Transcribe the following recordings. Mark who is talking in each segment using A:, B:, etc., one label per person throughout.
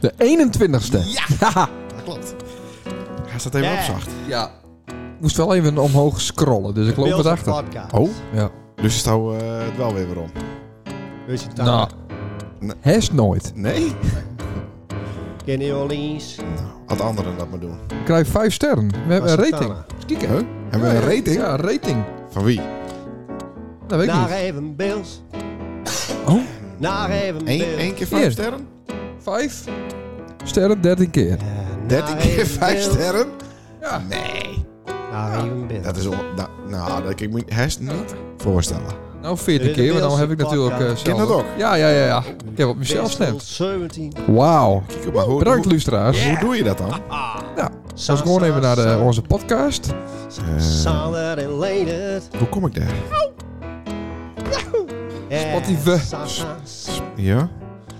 A: De 21ste.
B: Ja,
A: Haha.
B: dat klopt. Hij staat even
C: Ja.
B: opzacht.
A: ja. Moest wel even omhoog scrollen, dus ik loop het
C: Bills
A: achter.
C: Podcast.
B: Oh,
A: Ja.
B: dus is nou eh, het wel weer weer om.
C: Weet je het dan?
A: Nou.
B: Nee.
A: Hest nooit.
B: Nee?
C: Kenny Orleans.
B: Nou, had anderen dat maar doen.
A: Ik krijg 5 sterren. We hebben een rating.
C: Santana.
A: Kieken.
B: Huh? Hebben we een rating?
A: Ja, een rating.
B: Van wie?
A: Dat weet ik
C: Naar
A: niet.
C: even Bills.
A: Oh.
C: Naar even Bills.
B: Eén één keer vijf
A: Eer.
B: sterren?
A: 5 sterren, 13 keer.
C: Eh,
B: Dertien
C: naar
B: keer
C: even
B: vijf
C: Bills.
B: sterren?
A: Ja.
B: Nee.
C: Naar even Bills.
B: Dat is on... Nou, nou dat kan ik me herst niet voorstellen.
A: Nou,
C: Dit
A: 14
C: is de
A: keer, want dan
C: Beelse
A: heb ik natuurlijk... eh
C: podcast.
A: zelf-
B: Ken dat ook?
A: Ja, ja, ja, ja. Ik heb op mezelf
C: Best
A: gestemd.
C: 17.
A: Wauw.
B: Kijk, maar hoe,
A: Bedankt,
B: hoe,
A: luisteraars.
B: hoe doe je dat dan?
A: Als ik gewoon even naar de, onze Eh. podcast.
B: Oh,
C: Sander en Leendert.
B: Hoe kom ik daar?
C: Eh,
A: Spotify.
C: Sa- sa- sa-
B: Ja?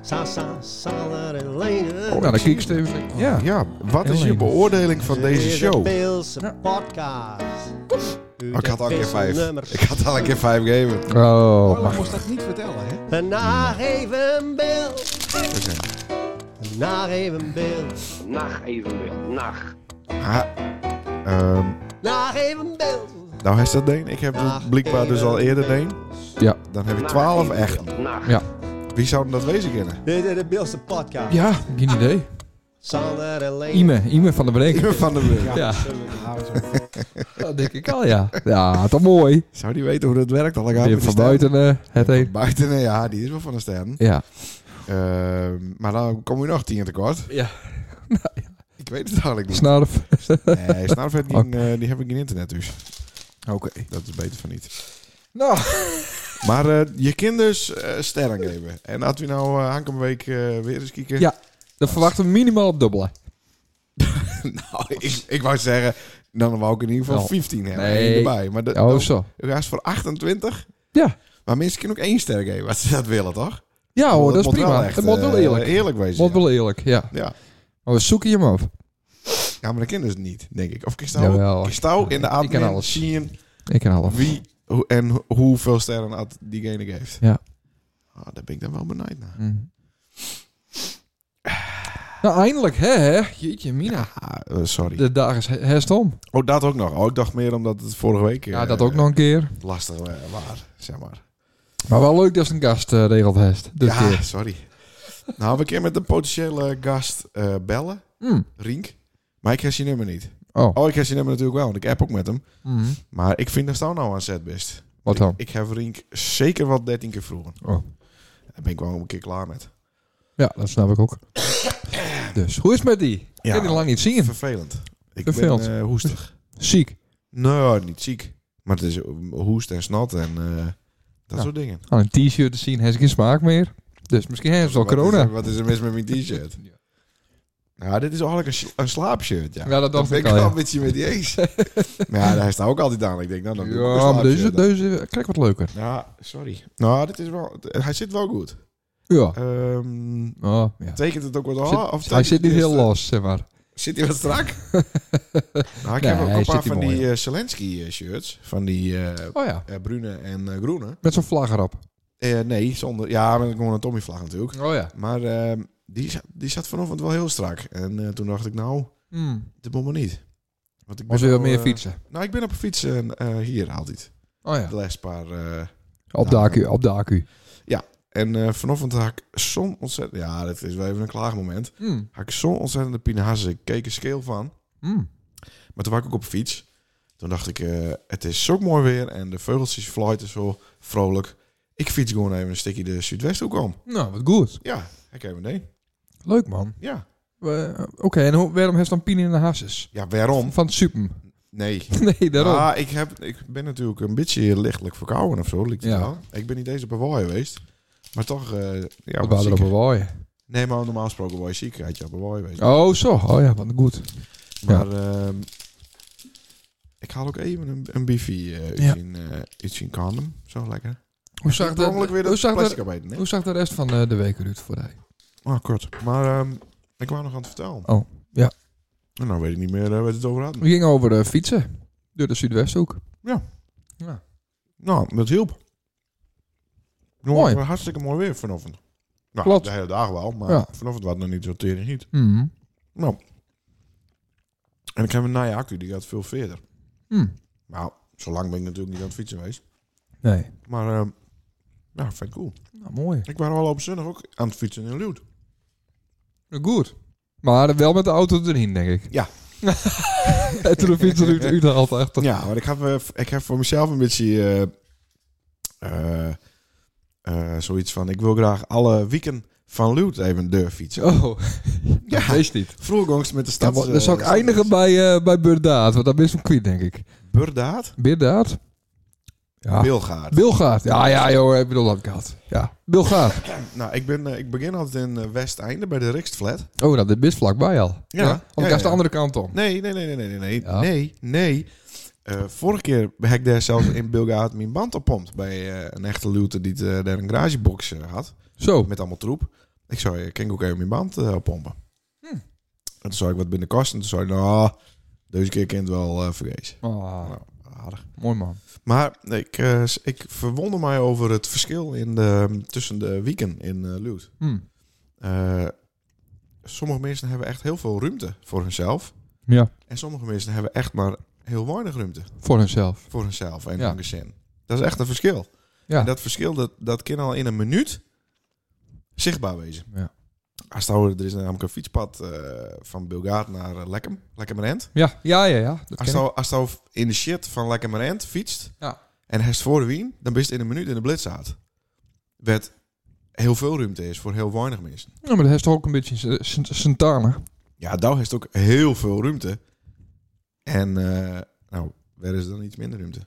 C: sa- sa- Sander en Leendert.
A: Oh, ja, dan kijk ik even. Ja.
B: Ja, wat is
A: Heel
B: je
A: even.
B: beoordeling van deze
C: Dit is de
B: show?
C: Beelse
A: Ja.
C: podcast.
B: Oh, ik had al een keer vijf.
C: Nummers.
B: Ik had al een keer vijf gegeven. Nou,
A: Oh,
D: Orla
A: maar
D: moest dat niet vertellen, hè?
C: Naar even Bills. Naar even Bills.
E: Nacht evenbeeld. Nacht.
B: Ha, ehm,
C: Naar even Bills.
B: nou, hij dat Deen. Ik heb het blijkbaar dus al eerder Deen.
A: Ja.
B: Dan heb ik
E: Nacht
B: twaalf echt.
E: evenbeeld. Nacht.
A: Ja.
B: Wie zou hem dat wezen kennen?
C: Dit is de Beelse podcast.
A: ja, geen idee.
C: Sander en Leendert.
A: Ime, Ime van de Breken.
B: Iemand van de Brug.
A: Ja,
D: Ja, zo.
A: dat denk ik al, ja. Ja, toch mooi.
B: Zou die weten hoe dat werkt? Al
A: Je van buiten eh, het heen.
B: Buiten, eh, ja, die is wel van de sterren.
A: Ja.
B: Ehm, maar dan kom je nog tien tekort. Nou,
A: Ja.
B: Ik weet het eigenlijk niet.
A: Snarf.
B: Nee, Snarf heeft geen,
A: Oh.
B: eh, die hebben geen internet dus.
A: Oké.
B: Dat is beter van niet.
A: Nou.
B: Maar eh, je kind dus eh, sterren geven. En als we nou eh aankomende week eh, weer eens kijken.
A: Ja. Dan verwachten we minimaal het dubbele.
B: nou, ik, ik wou zeggen, dan wou ik in ieder geval
A: Nou,
B: 15 hebben.
A: nee.
B: Nee. Erbij. Maar de,
A: Oh,
B: dan-
A: zo.
B: U gaat voor 28?
A: Ja.
B: Maar mensen kunnen ook één ster geven als ze dat willen, toch?
A: Ja hoor, Oh, dat is
B: moet wel
A: prima.
B: echt,
A: Dat moet wel
B: eh,
A: eerlijk.
B: eerlijk wezen.
A: Moet
B: ja.
A: wel eerlijk, ja.
B: Ja.
A: Maar we zoeken je hem af.
B: ja, maar dat kennen ze niet, denk ik. Of
A: Jawel.
B: Kistouw Kistouw in de
A: Ik ken
B: admin
A: alles.
B: zien
A: Ik ken alles.
B: wie hoe, en ho- hoeveel sterren had diegene geeft.
A: Ja.
B: Ah, daar ben ik dan wel benijd naar.
A: Mm. Nou, eindelijk, hè, hè. Jeetje, Mina.
B: Ah, eh, sorry.
A: De dag is he- herst om.
B: Oh, dat ook nog. Oh, ik dacht meer omdat het vorige week... eh,
A: Ja, dat ook nog een keer.
B: Lastig eh, waar, zeg maar.
A: Maar wel leuk dat ze een gast eh, regelt heeft. Dit
B: ja,
A: keer.
B: sorry. nou, we kunnen met een potentiële gast eh, bellen.
A: Mm.
B: Rink. Maar ik heb zijn nummer niet.
A: Oh.
B: Oh, ik heb zijn nummer natuurlijk wel, want ik app ook met hem.
A: Mm.
B: Maar ik vind dat Stouw nou aan zet best.
A: Wat dan?
B: Ik, ik heb Rink zeker wat 13 keer vroegen.
A: Oh.
B: Daar ben ik wel een keer klaar met.
A: Ja, dat snap ik ook. Dus, hoe is het met die? Ik
B: Ja.
A: heb die lang niet zien.
B: Vervelend. Ik
A: Vervelend.
B: ben eh, hoestig.
A: Ziek.
B: nou, niet ziek. Maar het is eh, hoest en snot en eh, dat
A: Ja.
B: soort dingen.
A: Aan een t-shirt te zien, heeft geen smaak meer. Dus misschien heeft ze wel
B: Wat is
A: corona.
B: er- Wat is er mis met mijn t-shirt?
A: Ja.
B: Nou, dit is eigenlijk een, sl- een slaapshirt, ja.
A: Ja, dat dacht
B: ben
A: ik
B: ik
A: al,
B: wel
A: ja.
B: een beetje met die eens. maar ja, daar staat ook altijd aan. Ik denk, nou, dan doe ik ook een
A: Ja, maar deze,
B: slaapshirt dan.
A: deze kijk wat leuker.
B: Ja, sorry. Nou, dit is wel... Hij zit wel goed.
A: Ja.
B: Ehm,
A: Oh, ja.
B: tekent het ook wat
A: Zit-
B: aan? of
A: Hij
B: tekent
A: zit niet
B: het
A: heel
B: eerst, eh,
A: los, zeg maar.
B: Zit hij wat strak? nou, ik
A: Nee,
B: heb ook
A: hij
B: een
A: zit
B: paar
A: hier
B: van
A: mooi,
B: die eh, Zelensky-shirts. Van die eh,
A: Oh ja,
B: eh, brune en eh, groene.
A: met zo'n vlag erop.
B: Eh, nee, zonder... Ja, met gewoon een Tommy-vlag natuurlijk.
A: Oh ja.
B: Maar ehm, die, za- die zat vanochtend wel heel strak. En eh, toen dacht ik, nou,
A: Hmm.
B: dit moet maar niet. Want ik
A: Als we
B: wel,
A: wat meer
B: eh,
A: fietsen.
B: nou, ik ben op fietsen eh, hier altijd.
A: Oh ja.
B: De laatste paar... eh,
A: Op de accu, op de accu.
B: en eh vanochtend had ik zo'n ontzettend... Ja, dat is wel even een klaagmoment.
A: Hmm.
B: Had ik zo'n ontzettende pinazen. Ik keek een scale van.
A: Hmm.
B: Maar toen was ik ook op de fiets. Toen dacht ik, eh, het is zo mooi weer en de vogeltjes fluiten zo vrolijk. Ik fiets gewoon even een stukje de Zuidwesthoek om.
A: Nou, wat goed.
B: Ja, ik heb een idee.
A: Leuk man.
B: Ja.
A: We- eh, Oké, en hoe, waarom heeft dan Pien in de hasses?
B: Ja, waarom?
A: Van het super.
B: Nee.
A: Nee, daarom.
B: Ah, ik, heb, ik ben natuurlijk een beetje lichtelijk verkouden of zo. Lijkt het
A: Ja.
B: wel. Ik ben niet eens op Hawaii geweest. Maar toch, eh ja,
A: we
B: wat
A: waren er op
B: zieker.
A: een waaien.
B: Nee, maar normaal gesproken word je ziek. Had je op Hawaii geweest.
A: Oh zo, oh ja, wat goed.
B: Maar ehm, ik haal ook even een, een bifi eh, uit,
A: Ja.
B: zijn, eh, uit zijn condom. Zo lekker.
A: Hoe zag,
B: Ik per ongeluk weer
A: de, hoe,
B: dat
A: zag
B: plastic
A: de,
B: erbij. Nee?
A: hoe zag de rest van eh, de week eruit voor hij?
B: Ah, kort. Maar ehm, ik wou nog aan het vertellen.
A: Oh, ja.
B: En nou weet ik niet meer eh, waar we het over hadden.
A: We gingen over eh, fietsen. Door de Zuidwesthoek.
B: Nou, dat hielp. Nou,
A: Mooi.
B: het was hartstikke mooi weer vanochtend. Nou,
A: Klopt.
B: de hele dag wel, maar
A: Ja.
B: vanaf het wat nog niet zo tering niet.
A: Mhm.
B: Nou. En ik heb een nieuwe accu, die gaat veel verder.
A: Hm.
B: Nou, zo lang ben ik natuurlijk niet aan het fietsen geweest.
A: Nee.
B: Maar, ehm ja, vind ik cool.
A: Nou, mooi.
B: Ik was al op zondag ook aan het fietsen in Luwt.
A: Goed. Maar wel met de auto erin, denk ik.
B: Ja.
A: en toen de fiets eruit uithaalt achter.
B: Ja, maar ik heb, eh, ik heb voor mezelf een beetje eh, eh, eh, zoiets van... Ik wil graag alle weekend van Luwt even deur fietsen.
A: Oh,
B: Ja.
A: dat is niet.
B: Vroeger gongst met de
A: Ja,
B: stad...
A: maar dan zou ik
B: eh, stads-
A: eindigen bij, eh bij Burdaat, want daar ben je zo'n kwiet, denk ik.
B: Burdaat?
A: Burdaat? Ja.
B: Bilgaard.
A: Bilgaard. Ja, ja, joh, ik bedoel dat gehad. Ja, Bilgaard.
B: Nou, ik, ben, eh, ik begin altijd in eh, Westeinde bij de Rikstflat.
A: Oh, dat is vlakbij al.
B: Ja.
A: Of ik
B: Ja,
A: ga
B: ja,
A: de
B: ja.
A: andere kant om.
B: Nee, nee, nee, nee, nee, nee, nee,
A: Ja.
B: nee, nee. Eh, vorige keer heb ik daar zelfs in Bilgaard mijn band oppompt bij eh, een echte looter die eh, daar een garagebox eh, had.
A: Zo.
B: Met allemaal troep. Ik zou je kan ik ook even mijn band eh, oppompen. En toen zou ik wat binnen kosten. Toen zei ik, nou, deze keer kind wel eh vergezen.
A: Ah,
B: Nou, aardig.
A: mooi man.
B: Maar ik, eh, s- ik verwonder mij over het verschil in de, mm, tussen de weekend in eh Loot.
A: Hm.
B: Eh, sommige mensen hebben echt heel veel ruimte voor hunzelf.
A: Ja,
B: En sommige mensen hebben echt maar heel weinig ruimte
A: voor hunzelf.
B: voor hunzelf en
A: Ja.
B: hun gezin. Dat is echt een verschil.
A: Ja.
B: En dat verschil, dat, dat kan al in een minuut zichtbaar wezen.
A: Ja.
B: Als het oude- er is namelijk een fietspad eh, van Bilgaard naar eh, Lekkem, Lekkemerend.
A: Ja, ja, ja. ja. Dat
B: Als
A: ken ik.
B: je als je in de shit van Lekkemerend fietst
A: Ja.
B: en hest voor Wien, dan ben je in een minuut in de blitzaat. Werd heel veel ruimte is voor heel weinig mensen.
A: Ja, maar dat is toch ook een beetje Santana.
B: Ja, daar heeft ook heel veel ruimte. En eh, nou, waar is dan iets minder ruimte?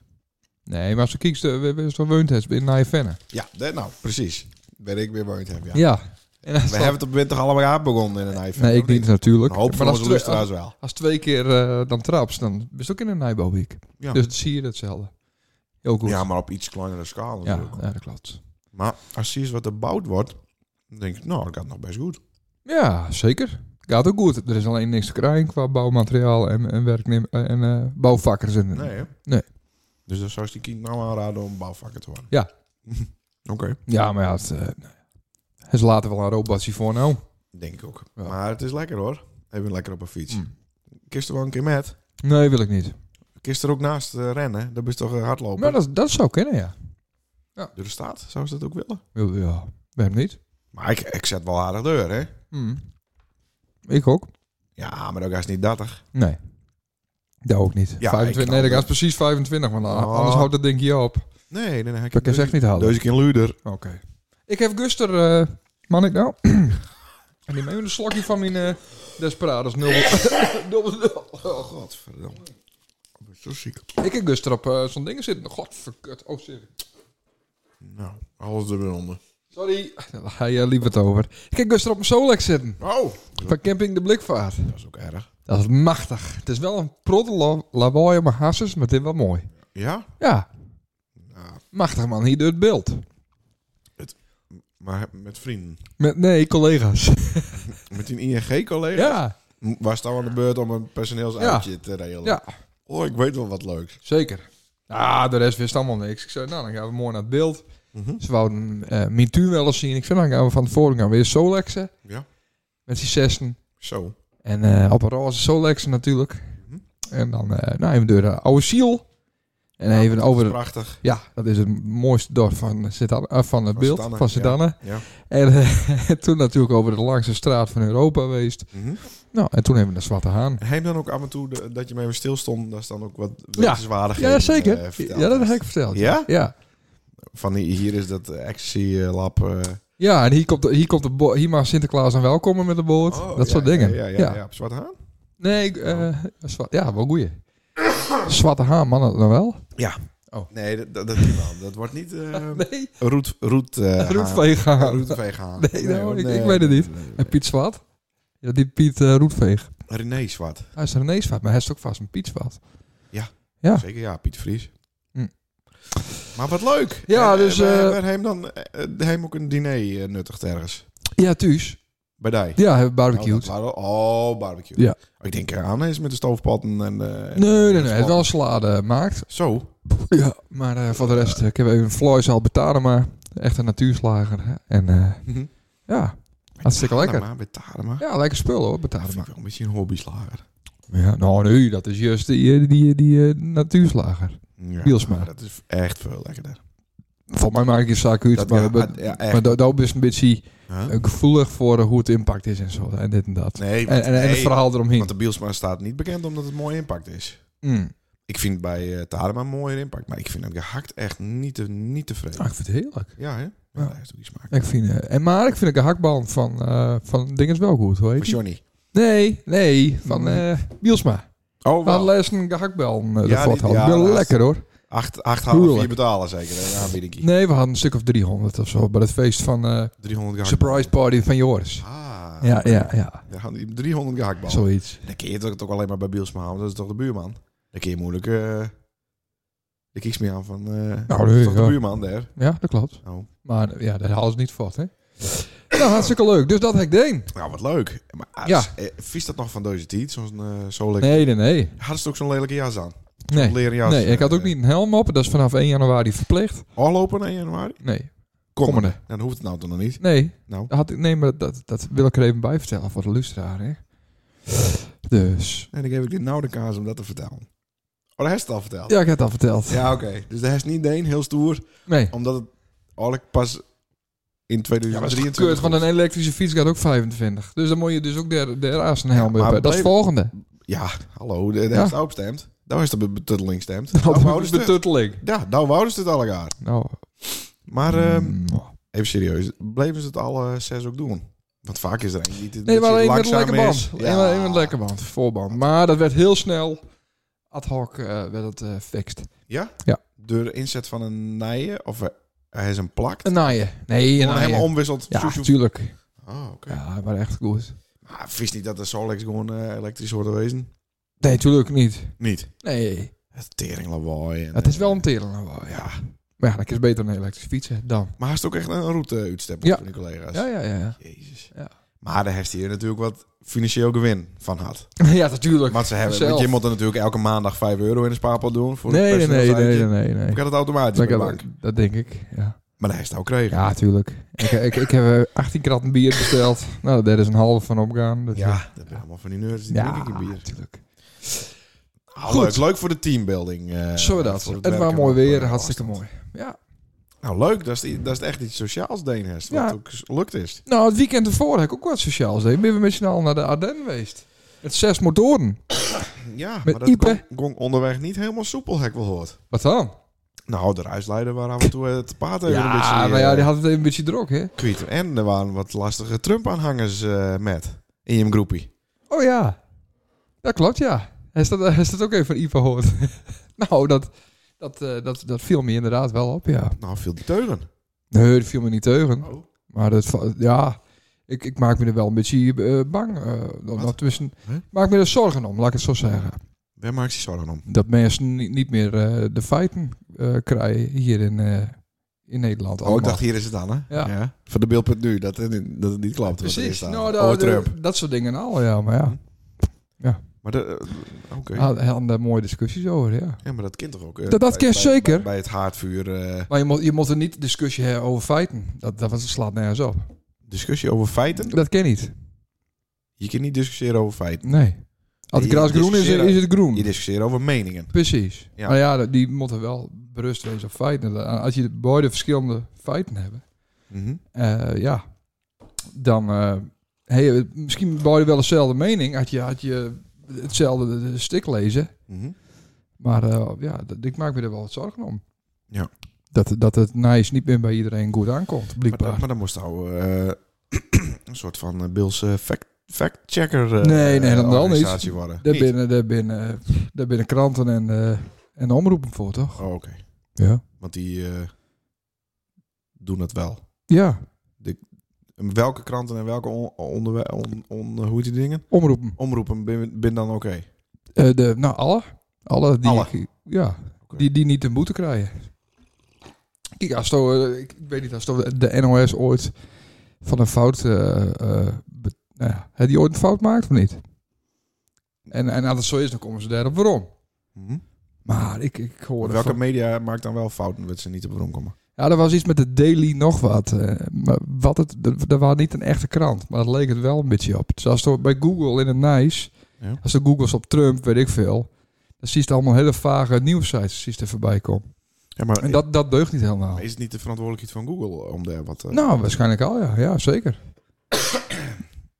A: Nee, maar als je kijkt, eh, we we- is toch Weunthes in Nijvenne.
B: Ja, dat, nou, precies. Ben ik weer woont heb, ja.
A: Ja. En als
B: We
A: dat-
B: hebben het op moment toch allemaal aan begonnen in een iPhone?
A: Nee,
B: of
A: ik niet
B: Een
A: natuurlijk.
B: hoop van
A: maar als, twee,
B: onze luisteraars
A: als,
B: wel.
A: als twee keer eh, dan traps, dan ben je ook in een Nijbo-week.
B: Ja.
A: Dus dan zie je hetzelfde. Heel goed.
B: Ja, maar op iets kleinere schaal
A: ja,
B: natuurlijk.
A: ja, dat klopt.
B: Maar als je ziet wat er gebouwd wordt, dan denk ik, nou, dat gaat nog best goed.
A: Ja, zeker. Gaat ook goed. Er is alleen niks te krijgen qua bouwmateriaal en, en, werknem- en eh, bouwvakkers. En,
B: Nee, hè?
A: Nee.
B: Dus dan zou ik die kind nou aanraden om bouwvakker te worden?
A: Ja.
B: Oké,
A: Ja, maar ja, het, eh, nou ja. het is later wel een robotje voor nou.
B: denk ik ook.
A: Ja.
B: Maar het is lekker hoor. Even lekker op een fiets.
A: Hm.
B: Kist er wel een keer met.
A: Nee, wil ik niet.
B: Kist er ook naast eh, rennen. Dan ben je toch eh, hardlopen.
A: Maar dat, dat zou kunnen, ja.
B: Door de staat zou ze dat ook willen.
A: Ja, Ja, waarom niet?
B: Maar ik, ik zet wel aardig deur, hè?
A: Hm. Ik ook.
B: Ja, maar dat is niet dattig.
A: Nee. Dat ook niet. Ah.
B: Ja,
A: 25,
B: ik
A: nee, dat
B: kan
A: gaat precies 25, want
B: Oh.
A: anders houdt dat ding je op.
B: Nee, nee, nee.
A: Dat kan je echt niet houden.
B: Deze keer luider.
A: Oké. Ik heb Guster, eh, man ik nou? en die neemt een slokje van mijn eh Desperados 0.
B: Oh, godverdomme. Ik ben zo ziek.
A: ik heb Guster op eh, zo'n ding zitten. Godverkut. Oh, sorry.
B: Nou, alles er weer onder.
A: Sorry. Hij eh, liep het over. Ik heb Guster op mijn Solex zitten.
B: Oh!
A: Van Camping de Blikvaart.
B: Dat is ook erg.
A: Dat is machtig. Het is wel een prodde lawaai op mijn hasses, maar dit wel mooi.
B: Ja?
A: Ja,
B: Nou,
A: machtig man. Hier door het beeld.
B: maar met vrienden.
A: Met, nee, collega's.
B: Met een ING-collega?
A: Ja.
B: Was nou aan de beurt om een personeelsuitje te regelen?
A: Ja.
B: Oh, ik weet wel wat leuks.
A: Zeker. Ah, de rest wist allemaal niks. Ik zei, nou, dan gaan we mooi naar het beeld.
B: Mhm.
A: Ze wouden eh mijn tuin wel eens zien. Ik zei, dan gaan we van tevoren gaan we weer Solexen.
B: Ja.
A: Met z'n zessen.
B: Zo.
A: En eh, op een roze Solexen natuurlijk.
B: Mhm.
A: En dan eh, nou, even door de oude Siel. En even
B: Dat
A: over...
B: is
A: de-
B: prachtig.
A: ja, dat is het mooiste dorp van, Zetan, eh, van het
B: Van
A: beeld.
B: Zetanne,
A: van
B: ja.
A: Sedanne.
B: Ja.
A: En eh, toen natuurlijk over de langste straat van Europa geweest.
B: Mhm.
A: Nou, en toen hebben we de Zwarte Haan.
B: En Heem dan ook af en toe de- dat je mee even stilstond. Dat is dan ook wat
A: Ja.
B: wetenswaardigheden
A: Ja, zeker.
B: eh, verteld.
A: ja, dat heb ik verteld.
B: Ja?
A: Ja.
B: Van die- hier is dat eh, ecstasy eh, lab. eh,
A: Ja, en hier, komt de, hier, komt de bo- hier mag Sinterklaas dan welkomen met een boord.
B: oh,
A: dat
B: ja,
A: soort
B: ja,
A: dingen.
B: Ja, ja, ja. Op Zwarte Haan?
A: Nee, ik, eh, zwa- ja, wel goeie. Zwarte haan, man, dat nou wel?
B: Nee, dat, dat, dat, niet, man. dat wordt niet eh
A: Nee,
B: roet, roet, eh, haan.
A: roetveeg
B: Ja,
A: haan.
B: Roetveeg halen.
A: Nee, nou, ik- ik weet het niet. En Piet Zwart? Ja, die Piet eh, Roetveeg.
B: René Zwart.
A: Hij is René Zwart, maar hij is ook vast een Piet Zwart. Ja.
B: Zeker, ja, Piet Vries.
A: Ah. Hm.
B: Maar wat leuk.
A: Ja,
B: En, eh,
A: dus,
B: we-
A: eh,
B: we hebben hem dan eh, eh, hem ook een diner eh, nuttig ergens.
A: Ja, thuis.
B: Bij die.
A: Ja, hebben we
B: Oh,
A: barbecued.
B: dat waren- oh, barbecue.
A: Ja.
B: Ik denk eh, aan is met de stoofpatten en... eh, en-
A: Nee, nee, nee.
B: en-
A: Hij heeft wel een salade gemaakt.
B: Zo.
A: Ja, maar eh, voor de rest, eh, ik heb even een Floyce Albertana, maar echt een natuurslager. hè. En eh, Ja, hartstikke lekker.
B: Tarema, Met Tarema.
A: Ja, lekker spul hoor,
B: Dat
A: betalen
B: vind
A: maar.
B: ik wel een beetje een hobbyslager.
A: Ja, nou nu, dat is juist die, die, die, die eh, natuurslager.
B: Ja,
A: Bielsma.
B: maar Dat is echt veel lekkerder.
A: Volgens mij maak ik je zaak uit,
B: Dat,
A: maar,
B: ja,
A: maar,
B: ah, ja, echt.
A: maar dat- dat is een beetje
B: Huh?
A: eh, gevoelig voor eh, hoe het impact is en zo. En dit en dat.
B: Nee,
A: en,
B: want,
A: en, en het
B: nee,
A: verhaal eromheen.
B: want de Bielsma staat niet bekend omdat het mooi impact is.
A: Mm.
B: Ik vind bij eh, Tarema een mooier impact, maar ik vind hem gehakt echt niet, te, niet tevreden.
A: Ah, ik vind het heerlijk.
B: Ja, hè? Ja,
A: Ja.
B: Hij heeft ook die smaak.
A: Ik vind, eh, en maar ik vind de hakbal van, eh van Dinges wel goed, hoor.
B: Van Johnny.
A: Nee, nee, van eh Bielsma.
B: Oh,
A: Van
B: wel.
A: les een gehaktbal eh, de
B: Ja,
A: fort
B: die-
A: hadden.
B: ja,
A: Wel
B: dat is-
A: lekker hoor.
B: Acht, acht halen, vier
A: Gruwelijk.
B: betalen zeker. Een aanbieding.
A: Nee, we hadden een stuk of 300 of zo bij het feest van eh
B: 300 gehaktballen.
A: Surprise Party van Joris.
B: Ah,
A: Ja, ja, ja.
B: daar gaan die 300 gehaktballen.
A: Zoiets.
B: Dan kun je het toch alleen maar bij Bielsma houden. Dat is toch de buurman? Dan kun je moeilijk... eh de kiks meer aan van... eh dat is
A: nee,
B: toch de
A: ja.
B: buurman daar?
A: Ja, dat klopt.
B: Oh.
A: Maar eh, ja, dat halen ze niet vast, hè? Nou, hartstikke leuk. Dus dat heb ik deen.
B: Nou, wat leuk. Maar ah,
A: Ja.
B: is- eh, vies dat nog van deze tijd? Zo'n eh zo lekker...
A: Nee, nee, nee.
B: Hadden ze ook zo'n lelijke jas aan?
A: Nee,
B: Leren jas.
A: nee ik had ook
B: eh,
A: niet een helm op. Dat is vanaf 1 januari verplicht.
B: Afgelopen 1 januari?
A: Nee.
B: Komende.
A: Komende.
B: Nou, dan hoeft het nou toch nog niet.
A: Nee,
B: Nou.
A: dat had ik, nee maar dat, dat wil ik er even bij vertellen voor de lustraar, hè? Dus.
B: En dan geef ik dit nou de kaas om dat te vertellen. Oh, dat is het al verteld.
A: Ja, ik heb het al verteld.
B: Ja, oké. Dus dat is niet Deen, heel stoer.
A: Nee.
B: Omdat het eigenlijk pas in
A: Ja, maar dat
B: 2023...
A: is gekeurd, want een elektrische fiets gaat ook 25. Dus dan moet je dus ook der, der aas een helm
B: Ja, maar
A: hebben. Dat is het
B: bleef- Nou,
A: volgende.
B: Ja, hallo. Daar
A: Ja.
B: heeft het opgestemd. Daar is de be- betutteling gestemd.
A: Dat
B: Nou wouden
A: is
B: ze
A: de
B: het.
A: tutteling.
B: Ja, nou wouden ze het alle jaar.
A: Nou,
B: Maar ehm,
A: mm.
B: even serieus, bleven ze het alle zes ook doen? Want vaak is er een die dit
A: Nee, maar
B: dat je
A: één met een lekker
B: langzaam
A: band.
B: is.
A: Eén met- één met een lekker band, voorband. Maar dat werd heel snel, ad hoc, eh, werd het eh, fixed.
B: Ja?
A: Ja.
B: Door de inzet van een nijen of eh, hij is een plak.
A: Een naaien. Nee, een
B: Gewoon helemaal
A: naaien.
B: omwisselt.
A: Ja,
B: Zoe, zoe.
A: natuurlijk.
B: Oh, oké.
A: Ja, maar echt goed.
B: Maar wist niet dat de Solex gewoon eh, elektrisch hoorde wezen?
A: Nee, natuurlijk niet.
B: Niet.
A: Nee,
B: Het teringlawaai. En,
A: het is
B: eh,
A: wel een teren. nou wel, Ja. Maar ja, dat is beter dan een elektrische fiets, hè, dan.
B: Maar hij is ook echt een route uitstep
A: Ja.
B: van die collega's.
A: Ja, ja, ja.
B: Jezus.
A: Ja.
B: Maar daar heeft hij er natuurlijk wat financieel gewin van had.
A: Ja, natuurlijk.
B: Want, ze hebben,
A: Zelf.
B: want je moet er natuurlijk elke maandag 5 euro in de spaarpot doen. Voor
A: Nee, nee, nee, nee,
B: Ik
A: nee, nee.
B: had het automatisch
A: Dat,
B: bij de
A: dat,
B: bank.
A: dat denk ik, ja.
B: Maar hij is het ook gekregen.
A: Ja, tuurlijk. Ik, ik, ik heb eh, 18 kratten bier besteld. Nou, daar is een halve van opgaan. Dus
B: Ja, dat ben allemaal van die nerds. Die
A: ja,
B: drink ik een bier.
A: natuurlijk.
B: Ah,
A: Goed.
B: leuk, leuk voor de teambuilding. eh,
A: Zo we dat.
B: voor
A: Het, was
B: werken
A: mooi
B: op,
A: weer,
B: eh,
A: hartstikke
B: afstand.
A: mooi. Ja.
B: Nou, leuk. Dat is, i- dat is echt iets sociaals, Deen heeft. Wat
A: Ja.
B: ook lukt is.
A: Nou, het weekend ervoor heb ik ook wat sociaals deed. Ben we met z'n allen naar de Ardennen geweest. Met zes motoren.
B: Ja,
A: Met
B: maar dat
A: Ipe.
B: gong- gong onderweg niet helemaal soepel, heb ik wel gehoord.
A: Wat dan?
B: Nou, de reisleider waren af en toe het paard even een beetje...
A: Ja, maar
B: eh,
A: ja, die had het even een beetje druk, hè?
B: kwijt. En er waren wat lastige Trump-aanhangers eh, met in je groepie.
A: Oh ja. Dat klopt, ja. Hij staat, hij staat ook even van Ivo hoort. nou, dat, dat, eh, dat, dat viel me inderdaad wel op, ja.
B: Nou, veel die teugen.
A: Nee, dat viel me niet teugen.
B: Oh.
A: Maar dat, va- ja, ik, ik maak me er wel een beetje eh, bang. eh, dat- dat tussen,
B: Hè?
A: ik maak me er zorgen om, laat ik het zo zeggen.
B: Waar maakt zich zorgen om?
A: Dat mensen niet, niet meer eh, de feiten eh, krijgen hier in, eh, in Nederland.
B: Oh, ik
A: allemaal.
B: dacht, hier is het dan, hè?
A: Ja.
B: Van de beeld nu, dat het, niet- dat het niet klopt. wat er is
A: Precies,
B: staan.
A: nou,
B: oh,
A: dat,
B: Trump. Hm,
A: dat soort dingen al, ja. Maar ja,
B: Maar de, eh, oké.
A: had- hadden daar mooie discussies over, ja.
B: Ja, maar dat kind toch ook? eh,
A: Ah. Dat- dat
B: bij-
A: kind
B: bij-
A: zeker.
B: Bij, bij het haardvuur eh,
A: Maar je moet, je moet er niet discussie hebben over feiten. Dat, dat was- slaat nergens op.
B: discussie over feiten.
A: Dat ken niet.
B: Je kunt niet discussiëren over feiten.
A: Nee. Als het
B: Je
A: gras groen is,
B: discussieert-
A: is het groen.
B: Je discussieert over meningen.
A: Precies.
B: Ja.
A: Maar ja, die moeten wel berust wezen op feiten. Als je beide verschillende feiten hebt,
B: Mhm.
A: eh, ja, dan eh heb je misschien beide wel dezelfde mening. Had je, had je hetzelfde stuk lezen.
B: Mhm.
A: Maar eh, ja, dat- ik maak me er wel wat zorgen om.
B: Ja.
A: Dat, dat het nice niet meer bij iedereen goed aankomt,
B: Maar, dan-
A: blijkbaar.
B: maar dan moest nou eh, een soort van eh, Bills eh, fact, fact-checker eh,
A: Nee, nee, dan wel niet.
B: organisatie worden.
A: Daar
B: Niet?
A: binnen, daar binnen, daar binnen kranten en, eh, en omroepen voor, toch?
B: Oh, oké.
A: Ja.
B: Want die eh, doen het wel.
A: Ja,
B: En welke kranten en welke on, onderwe- on, on- eh, hoe heet die dingen?
A: omroepen.
B: Omroepen bin, bin dan oké.
A: Eh, de, nou, alle. Alle die,
B: Alle.
A: ik- ja,
B: Oké.
A: die, die niet een boete krijgen. Kijk, als toch, eh, ik, ik weet niet, als toch de NOS ooit van een fout... eh, eh, be- nou ja, hè, die ooit een fout maakt of niet? En, en als het zo is, dan komen ze daarop waarom.
B: Mhm.
A: Maar ik, ik hoorde
B: Welke
A: van-
B: media maakt dan wel fouten dat ze niet op de bron komen?
A: Ja, er was iets met de Daily nog wat. eh, maar wat het, dat, dat was niet een echte krant, maar dat leek het wel een beetje op. Dus als er bij Google in het nice,
B: Ja.
A: als er Google's op Trump, weet ik veel, dan zie je het allemaal hele vage nieuwsites die er voorbij komen.
B: Ja, maar
A: En dat, dat deugt niet helemaal.
B: is het niet de verantwoordelijkheid van Google om daar wat... eh,
A: Nou, waarschijnlijk al, ja. Ja, zeker.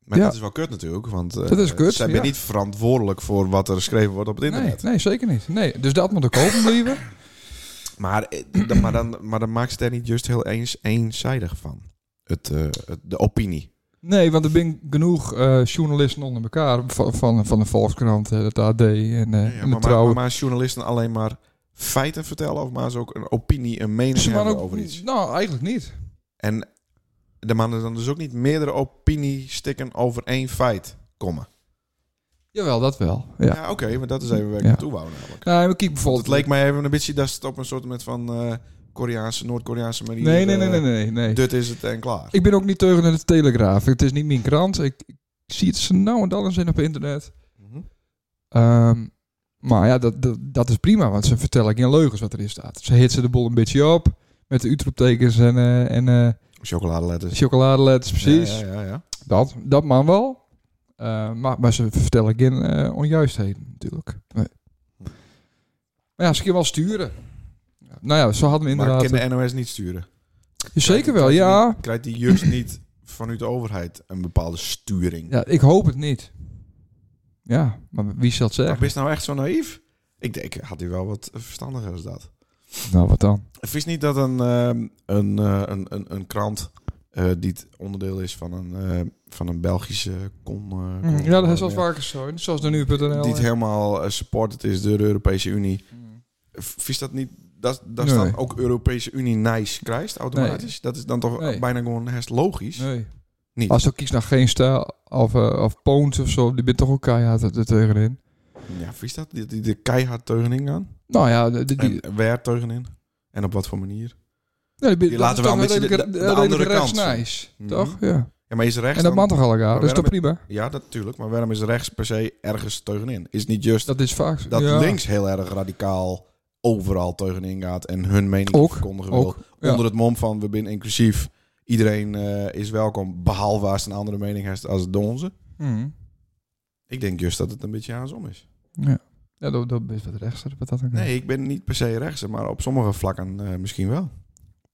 B: maar
A: ja.
B: dat is wel kut natuurlijk, want eh,
A: Dat is kut,
B: zij
A: ja.
B: bent niet verantwoordelijk voor wat er geschreven wordt op het
A: Nee,
B: internet.
A: nee, zeker niet. Nee, dus dat moet ook open blijven.
B: Maar, eh, dan- maar, dan, maar dan maakt ze daar niet juist heel eens, eenzijdig van. Het, eh, het- de opinie.
A: Nee, want er zijn genoeg eh, journalisten onder elkaar. Van, van, van de Volkskrant, eh, het AD en, eh, en
B: Ja,
A: de
B: maar, maar,
A: Trouw.
B: maar journalisten alleen maar feiten vertellen of maar ze ook een opinie, een mening
A: Ze waren
B: hebben
A: ook,
B: over iets.
A: Nou, eigenlijk niet.
B: En de mannen dan dus ook niet meerdere opinie stikken over één feit komen.
A: Jawel, dat wel.
B: Ja,
A: Ja.
B: oké, maar dat is even waar ik
A: Ja.
B: naartoe wou namelijk.
A: Nou, maar kijk
B: Want
A: bijvoorbeeld...
B: het leek mij even een beetje dat het op een soort met van eh, Koreaanse, Noord-Koreaanse manier.
A: nee, nee,
B: eh,
A: nee, nee, nee, nee.
B: Dit is het en klaar.
A: Ik ben ook niet tegen de Telegraaf. Het is niet mijn krant. Ik, ik zie het zo nauw en dan eens in op internet.
B: Mhm.
A: Ehm, maar ja, dat, dat, dat is prima, want ze vertellen geen leugens wat erin staat. Ze hitsen de bol een beetje op met de Utrecht-tekens en, eh en eh
B: Chocoladeletters.
A: chocoladeletters, precies.
B: Ja, ja, ja, ja.
A: Dat, dat man wel. Eh, maar, maar ze vertellen geen eh, onjuistheden natuurlijk. Nee. Maar ja, ze kunnen wel sturen. Nou ja, zo hadden we
B: Maar
A: inderdaad...
B: kan de NOS niet sturen?
A: Zeker wel,
B: Krijgt die-
A: ja.
B: Krijgt die juist niet vanuit de overheid een bepaalde sturing?
A: Ja, ik hoop het niet. Ja, maar wie zal het
B: Maar
A: zeggen?
B: ben je nou echt zo naïef? Ik denk, had hij wel wat verstandiger als dat.
A: Nou, wat dan?
B: Het is niet dat een, ehm, een, eh, een, een, een krant eh, die het onderdeel is van een, eh, van een Belgische con... eh, con-
A: Mhm. Ja, dat is als
B: eh,
A: vaker zo. Zoals de nu.nl.
B: Die het helemaal eh, supported is door de Europese Unie.
A: Mm.
B: Vies dat niet... Dat, dat
A: Nee.
B: dan ook Europese Unie nice krijgt automatisch. Dat is dan toch
A: Nee.
B: bijna gewoon herst logisch.
A: Nee.
B: Niet.
A: Als je kiest naar geen stijl of, eh of poons of zo, die bent toch ook keihard er er tegenin.
B: Ja, vies dat? Die, die, de keihard teugening aan.
A: Nou ja, de- de- die,
B: En waar teugenin? En op wat voor manier?
A: ja, die,
B: laten we wel een beetje de- de- de andere kant
A: Rechts nice,
B: zien.
A: toch?
B: Mhm.
A: Ja.
B: Ja, maar is rechts
A: En dat
B: dan-
A: man toch al elkaar, dat is toch
B: waarom-
A: prima?
B: Ja, natuurlijk. Maar waarom is rechts per se ergens teugenin? Is het niet juist dat,
A: Dat is vaak zo.
B: dat
A: ja.
B: links heel erg radicaal overal teugenin gaat en hun mening
A: Ook,
B: verkondigen wil?
A: ook. ja.
B: Onder het mom van we zijn inclusief, iedereen eh, is welkom, behalve als het een andere mening heeft als de onze.
A: Mhm.
B: Ik denk juist dat het een beetje andersom is.
A: Ja. Ja, dat, dat is wat rechts. Wat dat dan
B: Nee, ik ben niet per se rechts, maar op sommige vlakken eh, misschien wel.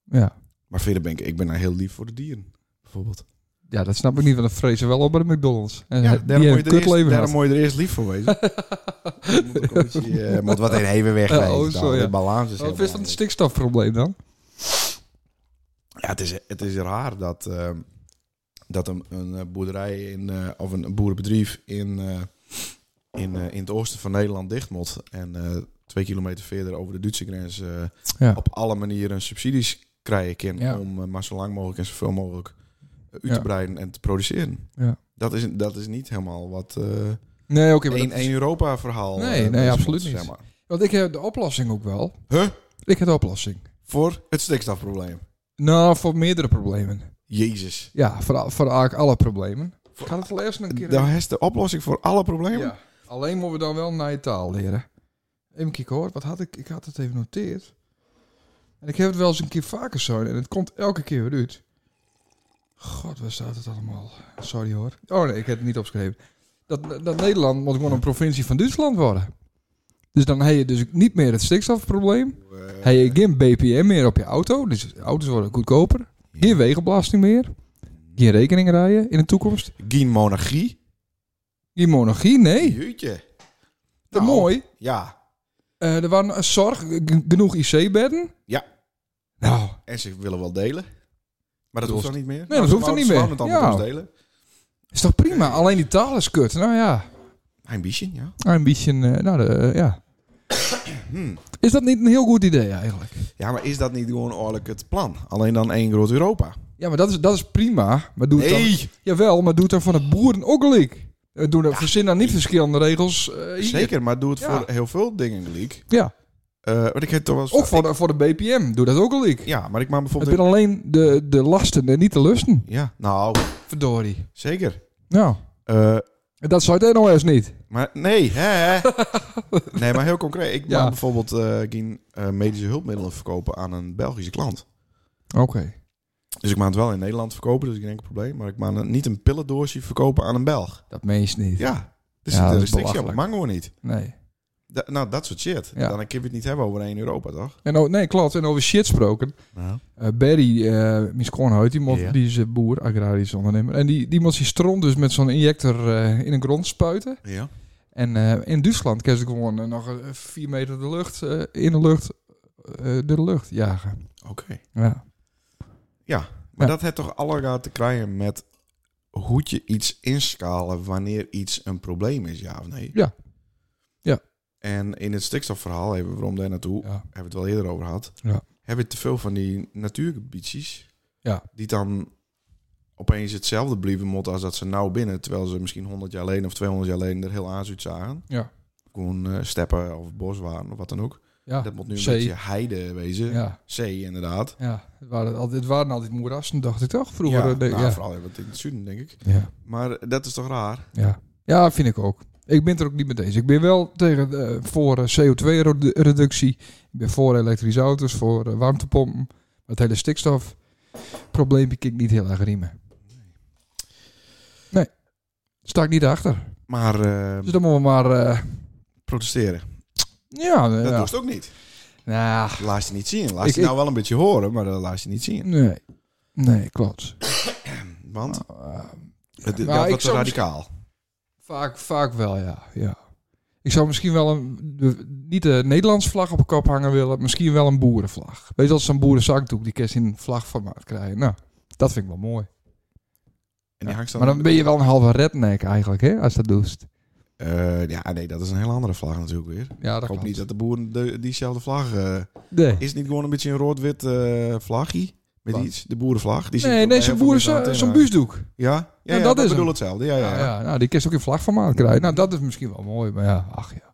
A: Ja.
B: Maar verder ben ik, ik ben nou heel lief voor de dieren, bijvoorbeeld.
A: ja, dat snap ik niet, want dat vrezen wel op bij de McDonald's. En
B: Ja,
A: die
B: daarom, moet
A: hebben
B: je
A: een
B: er eerst,
A: kutleven
B: daarom
A: gehad.
B: moet je er eerst lief voor wezen. Je moet, ook een beetje, eh, moet wat in even weg
A: Ja,
B: wezen.
A: oh,
B: dan.
A: zo, ja.
B: De balans
A: Wat is
B: is heel
A: van
B: belangrijk.
A: het stikstofprobleem dan?
B: Ja, het is, het is raar dat, ehm, dat een, een eh, boerderij in, eh, of een boerenbedrijf in, eh, in, eh, in het oosten van Nederland dicht moet. En eh, twee kilometer verder over de Duitse grens eh,
A: Ja.
B: op alle manieren subsidies krijgen kan
A: Ja.
B: om eh, maar zo lang mogelijk en zoveel mogelijk eh, uit
A: Ja.
B: te breiden en te produceren.
A: Ja.
B: Dat, is, dat is niet helemaal wat eh
A: Nee, oké. maar
B: één,
A: dat is-
B: één Europa verhaal.
A: Nee,
B: eh,
A: nee,
B: bezig
A: absoluut
B: moet,
A: niet.
B: Zeg maar.
A: Want ik heb de oplossing ook wel.
B: Huh?
A: Ik heb de oplossing.
B: Voor het stikstofprobleem.
A: Nou, voor meerdere problemen.
B: Jezus.
A: Ja, voor, al- voor eigenlijk alle problemen. Gaat het wel eerst een keer...
B: Daar is de oplossing voor alle problemen.
A: ja. Alleen moeten we dan wel naar je taal leren. Even kijken hoor, wat had ik? Ik had het even noteerd. En ik heb het wel eens een keer vaker zo. En het komt elke keer weer uit. God, waar staat het allemaal? Sorry hoor. Oh nee, ik heb het niet opgeschreven. Dat, dat Nederland moet gewoon een provincie van Duitsland worden. Dus dan heb je dus niet meer het stikstofprobleem.
B: Eh,
A: Hey, je geen BPM meer op je auto, dus auto's worden goedkoper. Geen wegenbelasting meer. Geen rekening rijden in de toekomst.
B: Geen monarchie.
A: Geen monarchie, nee.
B: Jeetje.
A: Te
B: Nou.
A: mooi.
B: Ja.
A: Eh, er waren eh, zorg, g- genoeg IC-bedden.
B: Ja.
A: Nou,
B: En ze willen wel delen. Maar dat
A: Doelst-
B: hoeft dan niet meer. Nou,
A: dat hoeft dan niet meer.
B: Ze wouden het
A: Ja.
B: allemaal thuis delen.
A: is toch prima? Alleen die taal is kut. Nou ja,
B: Een beetje, ja.
A: een beetje, eh, nou de, eh, ja.
B: Hmm.
A: Is dat niet een heel goed idee eigenlijk?
B: Ja, maar is dat niet gewoon oorlijk het plan? Alleen dan één groot Europa.
A: Ja, maar dat is, dat is prima. Maar doe het dan,
B: Nee,
A: jawel, maar doe het dan van de boeren ook gelijk. Eh, Doe dan, Verzin dan niet verschillende regels. eh, hier.
B: zeker. Maar doe het
A: Ja.
B: voor heel veel dingen, Liek.
A: Ja,
B: Eh want ik heb toch wel eens-
A: ook voor de, voor de BPM. Doe dat ook gelijk.
B: Ja, maar ik maak
A: Het
B: bijvoorbeeld...
A: zijn alleen de, de lasten en niet de lusten.
B: Ja, nou,
A: Verdorie.
B: zeker.
A: Nou,
B: Eh,
A: en dat zou het NOS niet.
B: maar nee, hè? nee, maar heel concreet. Ik
A: Ja.
B: maak bijvoorbeeld eh geen eh, medische hulpmiddelen verkopen aan een Belgische klant.
A: Oké.
B: Dus ik mag het wel in Nederland verkopen, dus ik heb geen enkel probleem. Maar ik mag een- niet een pillendoosje verkopen aan een Belg.
A: Dat meen je niet.
B: Ja, er
A: Ja,
B: zit
A: dat
B: een
A: is
B: restrictie op.
A: belachelijk.
B: Mango niet.
A: Nee.
B: Da- nou, dat soort shit.
A: Ja.
B: Dan kun je het niet hebben over één Europa, toch?
A: En o- nee, klopt. En over shit gesproken. Eh, Barry, eh mijn schoonhuid, die, moet-
B: Ja.
A: die is eh, boer, agrarisch ondernemer. En die, die moet zijn stront dus met zo'n injector eh, in de grond spuiten.
B: Ja.
A: En eh, in Duitsland kan ze gewoon eh, nog eh, vier meter de lucht, eh, in de lucht, eh, door de lucht jagen.
B: Oké.
A: Ja.
B: Maar
A: Ja.
B: dat heeft toch allemaal te krijgen met hoe je iets inschalen wanneer iets een probleem is, ja of nee?
A: Ja. Ja.
B: En in het stikstofverhaal, even waarom daar naartoe,
A: ja.
B: hebben we het wel eerder over gehad.
A: Ja.
B: Hebben we te veel van die natuurgebiedjes.
A: Ja.
B: Die dan opeens hetzelfde blijven moeten als dat ze nou binnen. Terwijl ze misschien 100 jaar geleden of 200 jaar geleden er heel aanzuid zagen.
A: Ja.
B: Gewoon eh, steppen of bos waren of wat dan ook.
A: Ja.
B: Dat moet nu een
A: Zee.
B: beetje heide wezen.
A: Ja.
B: Zee inderdaad.
A: Ja. Het waren, altijd, het waren altijd moerassen, dacht ik toch? Vroeger.
B: ja,
A: eh, de-
B: nou,
A: ja.
B: vooral even in het zuiden denk ik.
A: ja.
B: Maar dat is toch raar?
A: Ja. ja, vind ik ook. Ik ben het er ook niet mee eens. Ik ben wel tegen, eh, voor CO2-reductie. Ik ben voor elektrische auto's, voor eh, warmtepompen. Maar het hele stikstofprobleem kijk ik niet heel erg riemen. Nee, sta ik niet achter.
B: Maar eh,
A: Dus dan moeten we maar... eh,
B: protesteren,
A: ja, eh,
B: dat
A: ja.
B: doet het ook niet.
A: Nou,
B: Laat je niet zien. Laat
A: Ik-
B: je nou wel een beetje horen, maar dat laat je niet zien.
A: nee. Nee, klopt.
B: Want
A: Eh,
B: het
A: nou,
B: gaat
A: ik
B: wat te
A: zou
B: radicaal.
A: Vaak, vaak wel, ja. ja. Ik zou misschien wel een, de- niet de Nederlandse vlag op de kop hangen willen, misschien wel een boerenvlag. Weet je, als zo'n boerenzakdoek, die kun je in een vlagformaat krijgen. Nou, dat vind ik wel mooi.
B: En die hangt dan
A: Maar dan ben je wel een halve redneck eigenlijk, hè, als dat doest.
B: Eh, ja, nee, dat is een heel andere vlag natuurlijk weer.
A: Ja,
B: Ik
A: dat
B: hoop
A: klopt.
B: niet dat de boeren de- diezelfde vlag... eh,
A: Nee,
B: is het niet gewoon een beetje een rood-wit eh vlagje? Met
A: Wat?
B: iets? De boerenvlag? Die
A: nee, nee zo'n boeren, zo- zo'n
B: buurt.
A: buusdoek.
B: Ja? Ja,
A: dat
B: ja, dat
A: is
B: is bedoel
A: hem.
B: hetzelfde. Ja, ja.
A: Ja, ja, nou, die kun je ook in vlagformaat krijgen. Nou, dat is misschien wel mooi, maar ja, ach ja.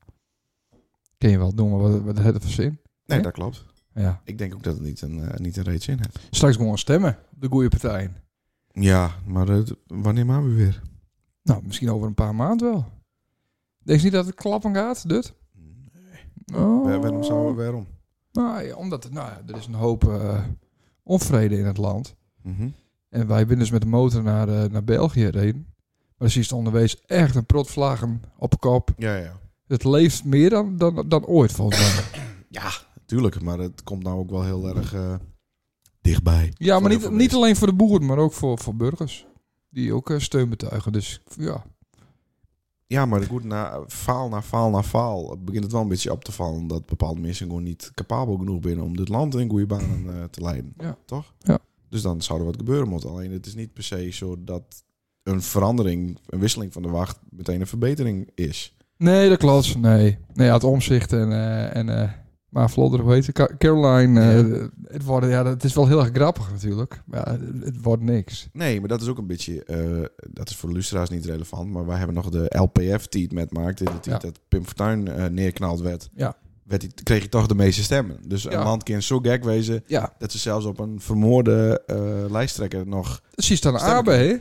A: Kun je wel doen, maar wat, wat heeft het voor zin?
B: Nee,
A: Ja?
B: dat klopt.
A: Ja.
B: Ik denk ook dat het niet een, eh, niet een reetje in heeft.
A: Straks gewoon stemmen op de goede partijen.
B: Ja, maar eh, wanneer maken we weer?
A: Nou, misschien over een paar maanden wel. Denk je niet dat het klappen gaat, dit? Oh.
B: Wa- Waarom zouden we... Waarom?
A: Nou, ja, omdat er- nou, ja, er is een hoop eh, onvrede in het land.
B: Mhm.
A: En wij zijn dus met de motor naar, eh, naar België reden. Maar dan zie je het onderwees echt een prot vlaggen op kop.
B: Ja, ja.
A: Het leeft meer dan, dan, dan ooit volgens mij.
B: Tuurlijk, maar het komt nou ook wel heel erg eh, dichtbij.
A: Ja,
B: Voor
A: maar
B: heel
A: niet,
B: veel
A: niet alleen voor de boeren, maar ook voor, voor burgers. Die ook eh, steun betuigen. Dus ja,
B: Ja, maar goed, na faal na faal na faal begint het wel een beetje op te vallen dat bepaalde mensen gewoon niet capabel genoeg zijn om dit land in goede banen eh, te leiden.
A: Ja.
B: Toch?
A: Ja.
B: Dus dan zou er wat gebeuren moeten. Alleen het is niet per se zo dat een verandering, een wisseling van de wacht meteen een verbetering is.
A: Nee, dat klopt. Nee. Nee, ja, het omzicht en... eh, en eh, maar Vlodder, hoe heet ze? Ca- Caroline. eh, het, worden, ja, dat is wel heel erg grappig natuurlijk. Maar ja, het, het wordt niks.
B: Nee, maar dat is ook een beetje, eh, dat is voor de lustra's niet relevant, maar wij hebben nog de LPF-tiet met Mark, de tiet
A: Ja.
B: dat Pim Fortuyn eh, neerknald werd.
A: Ja.
B: Werd hij, kreeg hij toch de meeste stemmen. Dus
A: Ja.
B: een land kan zo gek wezen
A: Ja,
B: dat ze zelfs op een vermoorde eh, lijsttrekker nog...
A: dat is dan
B: Stem ik
A: Abe, hè?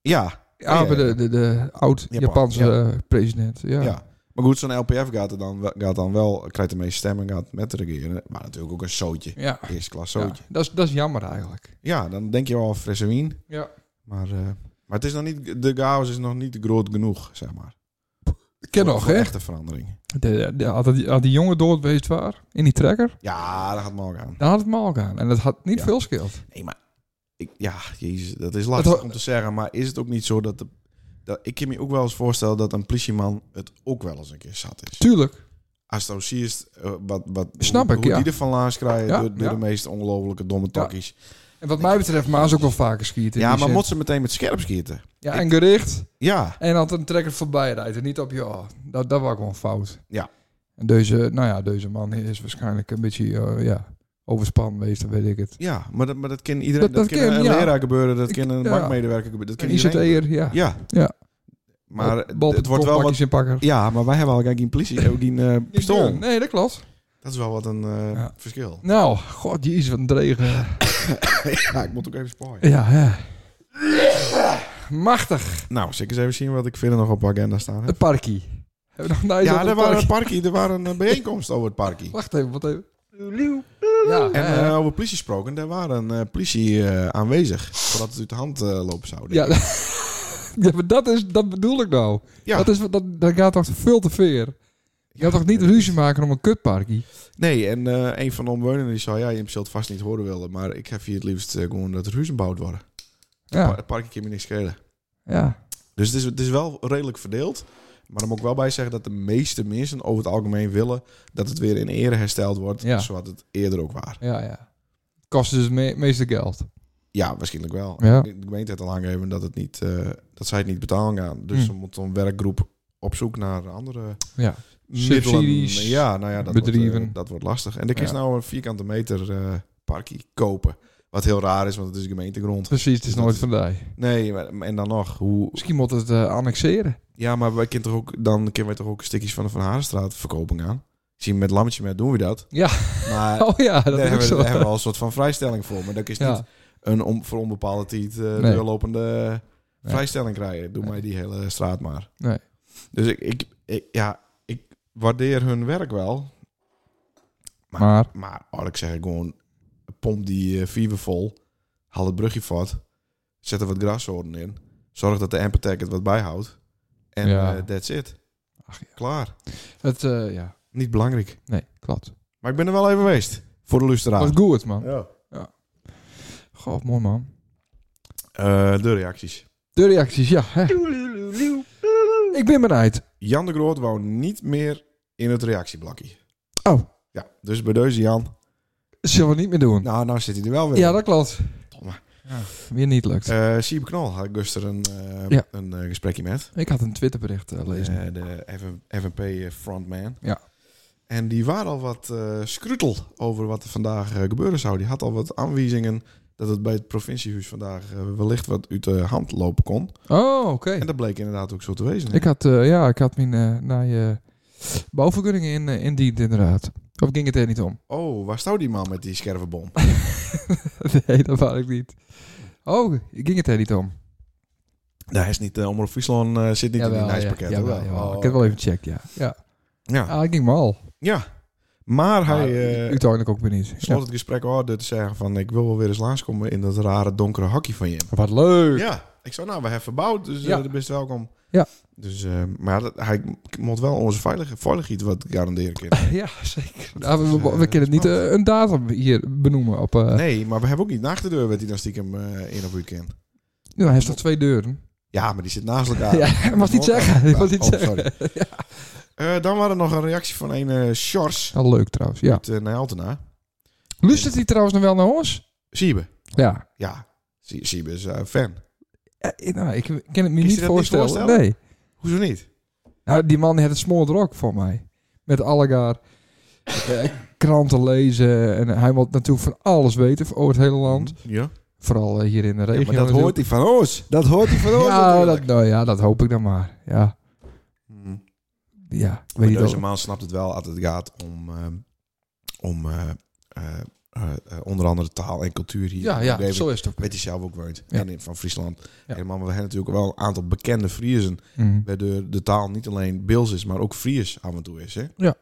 B: Ja,
A: Abe,
B: Ja, ja, ja.
A: de, de, de oud-Japanse eh, president. Ja.
B: Ja. Maar goed, zo'n LPF gaat, er dan, gaat dan wel, krijgt de meeste stemmen, gaat met regeren. Maar natuurlijk ook een zootje.
A: Ja.
B: Eerste klas
A: Ja,
B: zootje.
A: Dat, is, dat is jammer eigenlijk.
B: Ja, dan denk je wel frisse wien.
A: Ja.
B: Maar, eh, maar het is nog niet, de chaos is nog niet groot genoeg, zeg maar.
A: Ken
B: Voor-
A: nog,
B: voor
A: hè?
B: echte verandering.
A: De, de, had, die, had die jongen dood geweest waar, in die trekker,
B: Ja, dat gaat morgen aan.
A: dan had het mal gaan. En dat had niet
B: Ja.
A: veel scheeld.
B: Nee, maar... Ik, ja, jezus, dat is lastig
A: Het ho-
B: om te zeggen. Maar is het ook niet zo dat, de, dat... Ik kan me ook wel eens voorstellen dat een politieman het ook wel eens een keer zat is.
A: Tuurlijk.
B: Als het zie is, eh, wat, wat,
A: Snap
B: hoe,
A: ik,
B: hoe
A: ja.
B: die er van laars krijgen
A: Ja,
B: door, door
A: ja.
B: de meest ongelofelijke domme takkies.
A: En wat mij betreft, Maas ook wel vaker schieten. in
B: Ja,
A: die
B: maar
A: zin.
B: moet ze meteen met scherp schieten?
A: Ja, en gericht.
B: Ja.
A: En had een trekker voorbij rijdt en niet op je. oh, dat, dat was gewoon fout.
B: Ja.
A: En deze, nou ja, deze man is waarschijnlijk een beetje eh, ja, overspan geweest, dan weet ik het.
B: Ja, maar dat, maar dat kan iedereen. Dat,
A: Dat- dat
B: kan,
A: kan,
B: een
A: ja.
B: leraar gebeuren, dat
A: Ik-
B: kan een
A: ja.
B: bankmedewerker gebeuren. Dat kan
A: Een
B: iedereen.
A: ICT'er, ja.
B: Ja.
A: Ja.
B: Maar
A: Bal- bal-
B: het wordt wel wat...
A: kopbakjes inpakken.
B: Ja, maar wij hebben eigenlijk geen politie, ook geen eh, pistool.
A: Nee, dat klopt.
B: Dat is wel wat een eh,
A: Ja.
B: verschil.
A: Nou, god, jezus, wat een dregen.
B: ja, ik moet ook even sparen.
A: Ja, ja. Machtig,
B: Nou, zal ik eens even zien wat ik verder nog op de agenda staan
A: het
B: heb.
A: parkie. Hebben we nog een ijs
B: Ja,
A: op
B: er
A: het
B: waren, een
A: parkie?
B: parkie, er waren een bijeenkomst over het parkie.
A: Wacht even, wat even. Ja,
B: En
A: hè, hè.
B: eh, over politie gesproken, daar waren eh, politie eh, aanwezig. Voordat het uit de hand eh, lopen zou.
A: ja, ja, maar dat, is, dat bedoel ik nou.
B: Ja.
A: Dat, is, wat- dat, dat gaat toch veel te ver? Je gaat toch niet ruzie maken om een kutparkie?
B: Nee, en eh, een van de omwonenden die zei... Ja, je zult het vast niet horen willen. Maar ik heb hier het liefst eh, gewoon dat er huizen bouwd worden. Pa-
A: Ja,
B: Het parkje kan me niks schelen.
A: ja.
B: Dus het is, het is wel redelijk verdeeld. Maar dan moet ik wel bij zeggen dat de meeste mensen over het algemeen willen... dat het weer in ere hersteld wordt.
A: Ja.
B: Zoals het eerder ook was.
A: ja, ja. Kost dus het me- meeste geld.
B: Ja, waarschijnlijk wel.
A: Ja.
B: De gemeente heeft al aangegeven dat, het niet, eh, dat zij het niet betalen gaan. Dus
A: Hm.
B: ze moeten een werkgroep op zoek naar andere
A: Ja.
B: middelen.
A: Subsidies,
B: Ja, nou ja, dat Wordt,
A: bedrijven.
B: eh, dat wordt lastig. En ik is
A: Ja.
B: nou een vierkante meter eh parkie kopen. Wat heel raar is, want het is gemeentegrond.
A: Precies, het is nooit van die.
B: Nee, maar, en dan nog. Hoe,
A: Misschien moet het eh, annexeren.
B: ja, maar wij kunnen toch ook, dan kunnen wij toch ook stukjes van de Van Harenstraat verkoping aan. Zien met lammetje met doen we dat.
A: Ja.
B: Maar
A: oh ja, dat is ook
B: daar, hebben, we-
A: zo.
B: daar hebben we al een soort van vrijstelling voor. Maar dat is niet
A: ja.
B: een om, voor onbepaalde tijd eh
A: Nee.
B: doorlopende
A: Nee.
B: vrijstelling krijgen. Doe
A: Nee.
B: mij die hele straat maar.
A: Nee.
B: Dus ik, ik, ik- ja, ik waardeer hun werk wel. Maar,
A: Maar-
B: maar. oh, ik zeg gewoon, pomp die eh viewer vol. Haal het brugje vat. Zet er wat grasoorden in. Zorg dat de Empatec het wat bijhoudt. En
A: Ja.
B: eh, that's it.
A: Ach, ja.
B: Klaar.
A: Het, eh, ja.
B: Niet belangrijk.
A: Nee, klopt.
B: Maar ik ben er wel even geweest. Voor de
A: Was
B: lustraad.
A: goed, man.
B: Ja.
A: Goh, mooi, man.
B: Eh, de reacties.
A: De reacties, ja. Hè. Ik ben benijd.
B: Jan de Groot wou niet meer in het reactieblokje.
A: Oh.
B: Ja, dus bij deze Jan.
A: Zullen we niet meer doen?
B: Nou, nou zit hij er wel weer.
A: Ja, dat klopt.
B: Domme.
A: Ja, weer niet lukt.
B: Eh, Siebe Knol had ik gisteren een, eh,
A: Ja.
B: een eh, gesprekje met.
A: ik had een Twitterbericht eh, lezen.
B: Eh, de FNP FNP eh, frontman.
A: Ja.
B: En die waren al wat eh scrutel over wat er vandaag eh, gebeuren zou. Die had al wat aanwijzingen dat het bij het provinciehuis vandaag eh, wellicht wat uit de hand lopen kon.
A: oh, oké.
B: En dat bleek inderdaad ook zo te wezen.
A: Ik had, eh, ja, ik had mijn eh naar je bouwvergunningen in, eh, indiend inderdaad. Of ging het er niet om?
B: Oh, waar stond die man met die schervenbom?
A: nee, dat wou ik niet. Oh, ging het er niet om?
B: Daar is niet, eh Omroep Friesland eh, zit niet in die
A: ja,
B: ijspakket. hoor.
A: jawel, jawel.
B: Oh,
A: Ik heb wel even gecheckt, ja. ja.
B: Ja.
A: Ah, ik ging maar al.
B: Ja. Maar hij
A: Maar
B: eh,
A: Uiteindelijk ook weer niet.
B: sloot het gesprek af door te zeggen van... ik wil wel weer eens langskomen in dat rare donkere hakje van je.
A: Ja. Wat leuk.
B: Ja, ik zou nou, we hebben verbouwd, dus
A: Ja.
B: eh, best welkom.
A: Ja.
B: Dus, eh, maar dat, hij moet wel onze veiligheid, veiligheid wat garanderen kunnen.
A: Ja, zeker. Nou, we, we,
B: eh,
A: we kunnen niet eh, een datum hier benoemen. Op, eh
B: Nee, maar we hebben ook niet nacht de deur wat hij dan stiekem eh, in of uit kent.
A: ja, hij heeft nog twee deuren.
B: Ja, maar die zit naast
A: Ja,
B: elkaar.
A: ik mag niet zeggen. Ik mag niet
B: Oh,
A: zeggen.
B: sorry. Eh, dan waren er nog een reactie van een eh Sjors
A: Wel Nou, leuk trouwens, ja.
B: uit eh, Nijaltena.
A: Luistert hij trouwens nog wel naar ons?
B: Siebe.
A: Ja.
B: Ja, Sie- Siebe is eh, fan.
A: Eh, nou, ik kan het me niet,
B: je dat
A: voorstellen.
B: niet voorstellen?
A: Nee.
B: Hoezo niet?
A: Nou, die man had het smoord er ook voor mij. Met allegaar eh, kranten lezen. En hij wil natuurlijk van alles weten over het hele land.
B: Ja.
A: Vooral eh, hier in de regio.
B: maar dat hoort
A: natuurlijk.
B: hij van ons. Dat hoort hij van ons
A: ja,
B: natuurlijk.
A: dat, nou, ja, dat hoop ik dan maar. Ja,
B: Hmm.
A: ja ik
B: Maar
A: weet niet
B: deze
A: of-
B: man snapt het wel als het gaat om, ehm, om eh, eh, eh, eh, onder andere taal en cultuur hier.
A: Ja,
B: in de
A: ja,
B: omgeving.
A: zo is het ook.
B: Weet je zelf ook woont.
A: Ja.
B: En in- van Friesland.
A: Ja.
B: Helemaal, maar we hebben natuurlijk wel een aantal bekende Friesen.
A: Mhm.
B: Waardoor de taal niet alleen Beels is, maar ook Fries af en toe is. Hè?
A: Ja,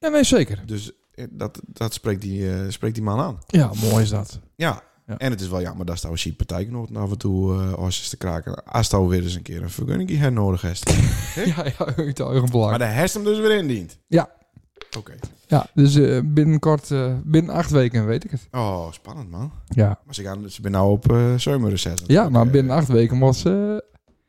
A: nee, zeker.
B: Dus eh, dat, dat spreekt, die, eh, spreekt die man aan.
A: Ja, mooi is dat.
B: Ja.
A: Ja.
B: En het is wel jammer dat Stouw Siep partijgenoten af en toe eh oortjes te kraken. Als Stouw weer eens een keer een vergunning hernodig heeft.
A: Ja, ja, uit de
B: maar
A: belang.
B: de herst hem dus weer indient.
A: Ja.
B: Oké.
A: Ja, dus eh, binnenkort, eh, binnen acht weken weet ik het.
B: Oh, spannend man.
A: Ja,
B: Maar ze, gaan, ze zijn nou op eh zomerreces.
A: ja maar
B: Eh,
A: binnen acht weken was... eh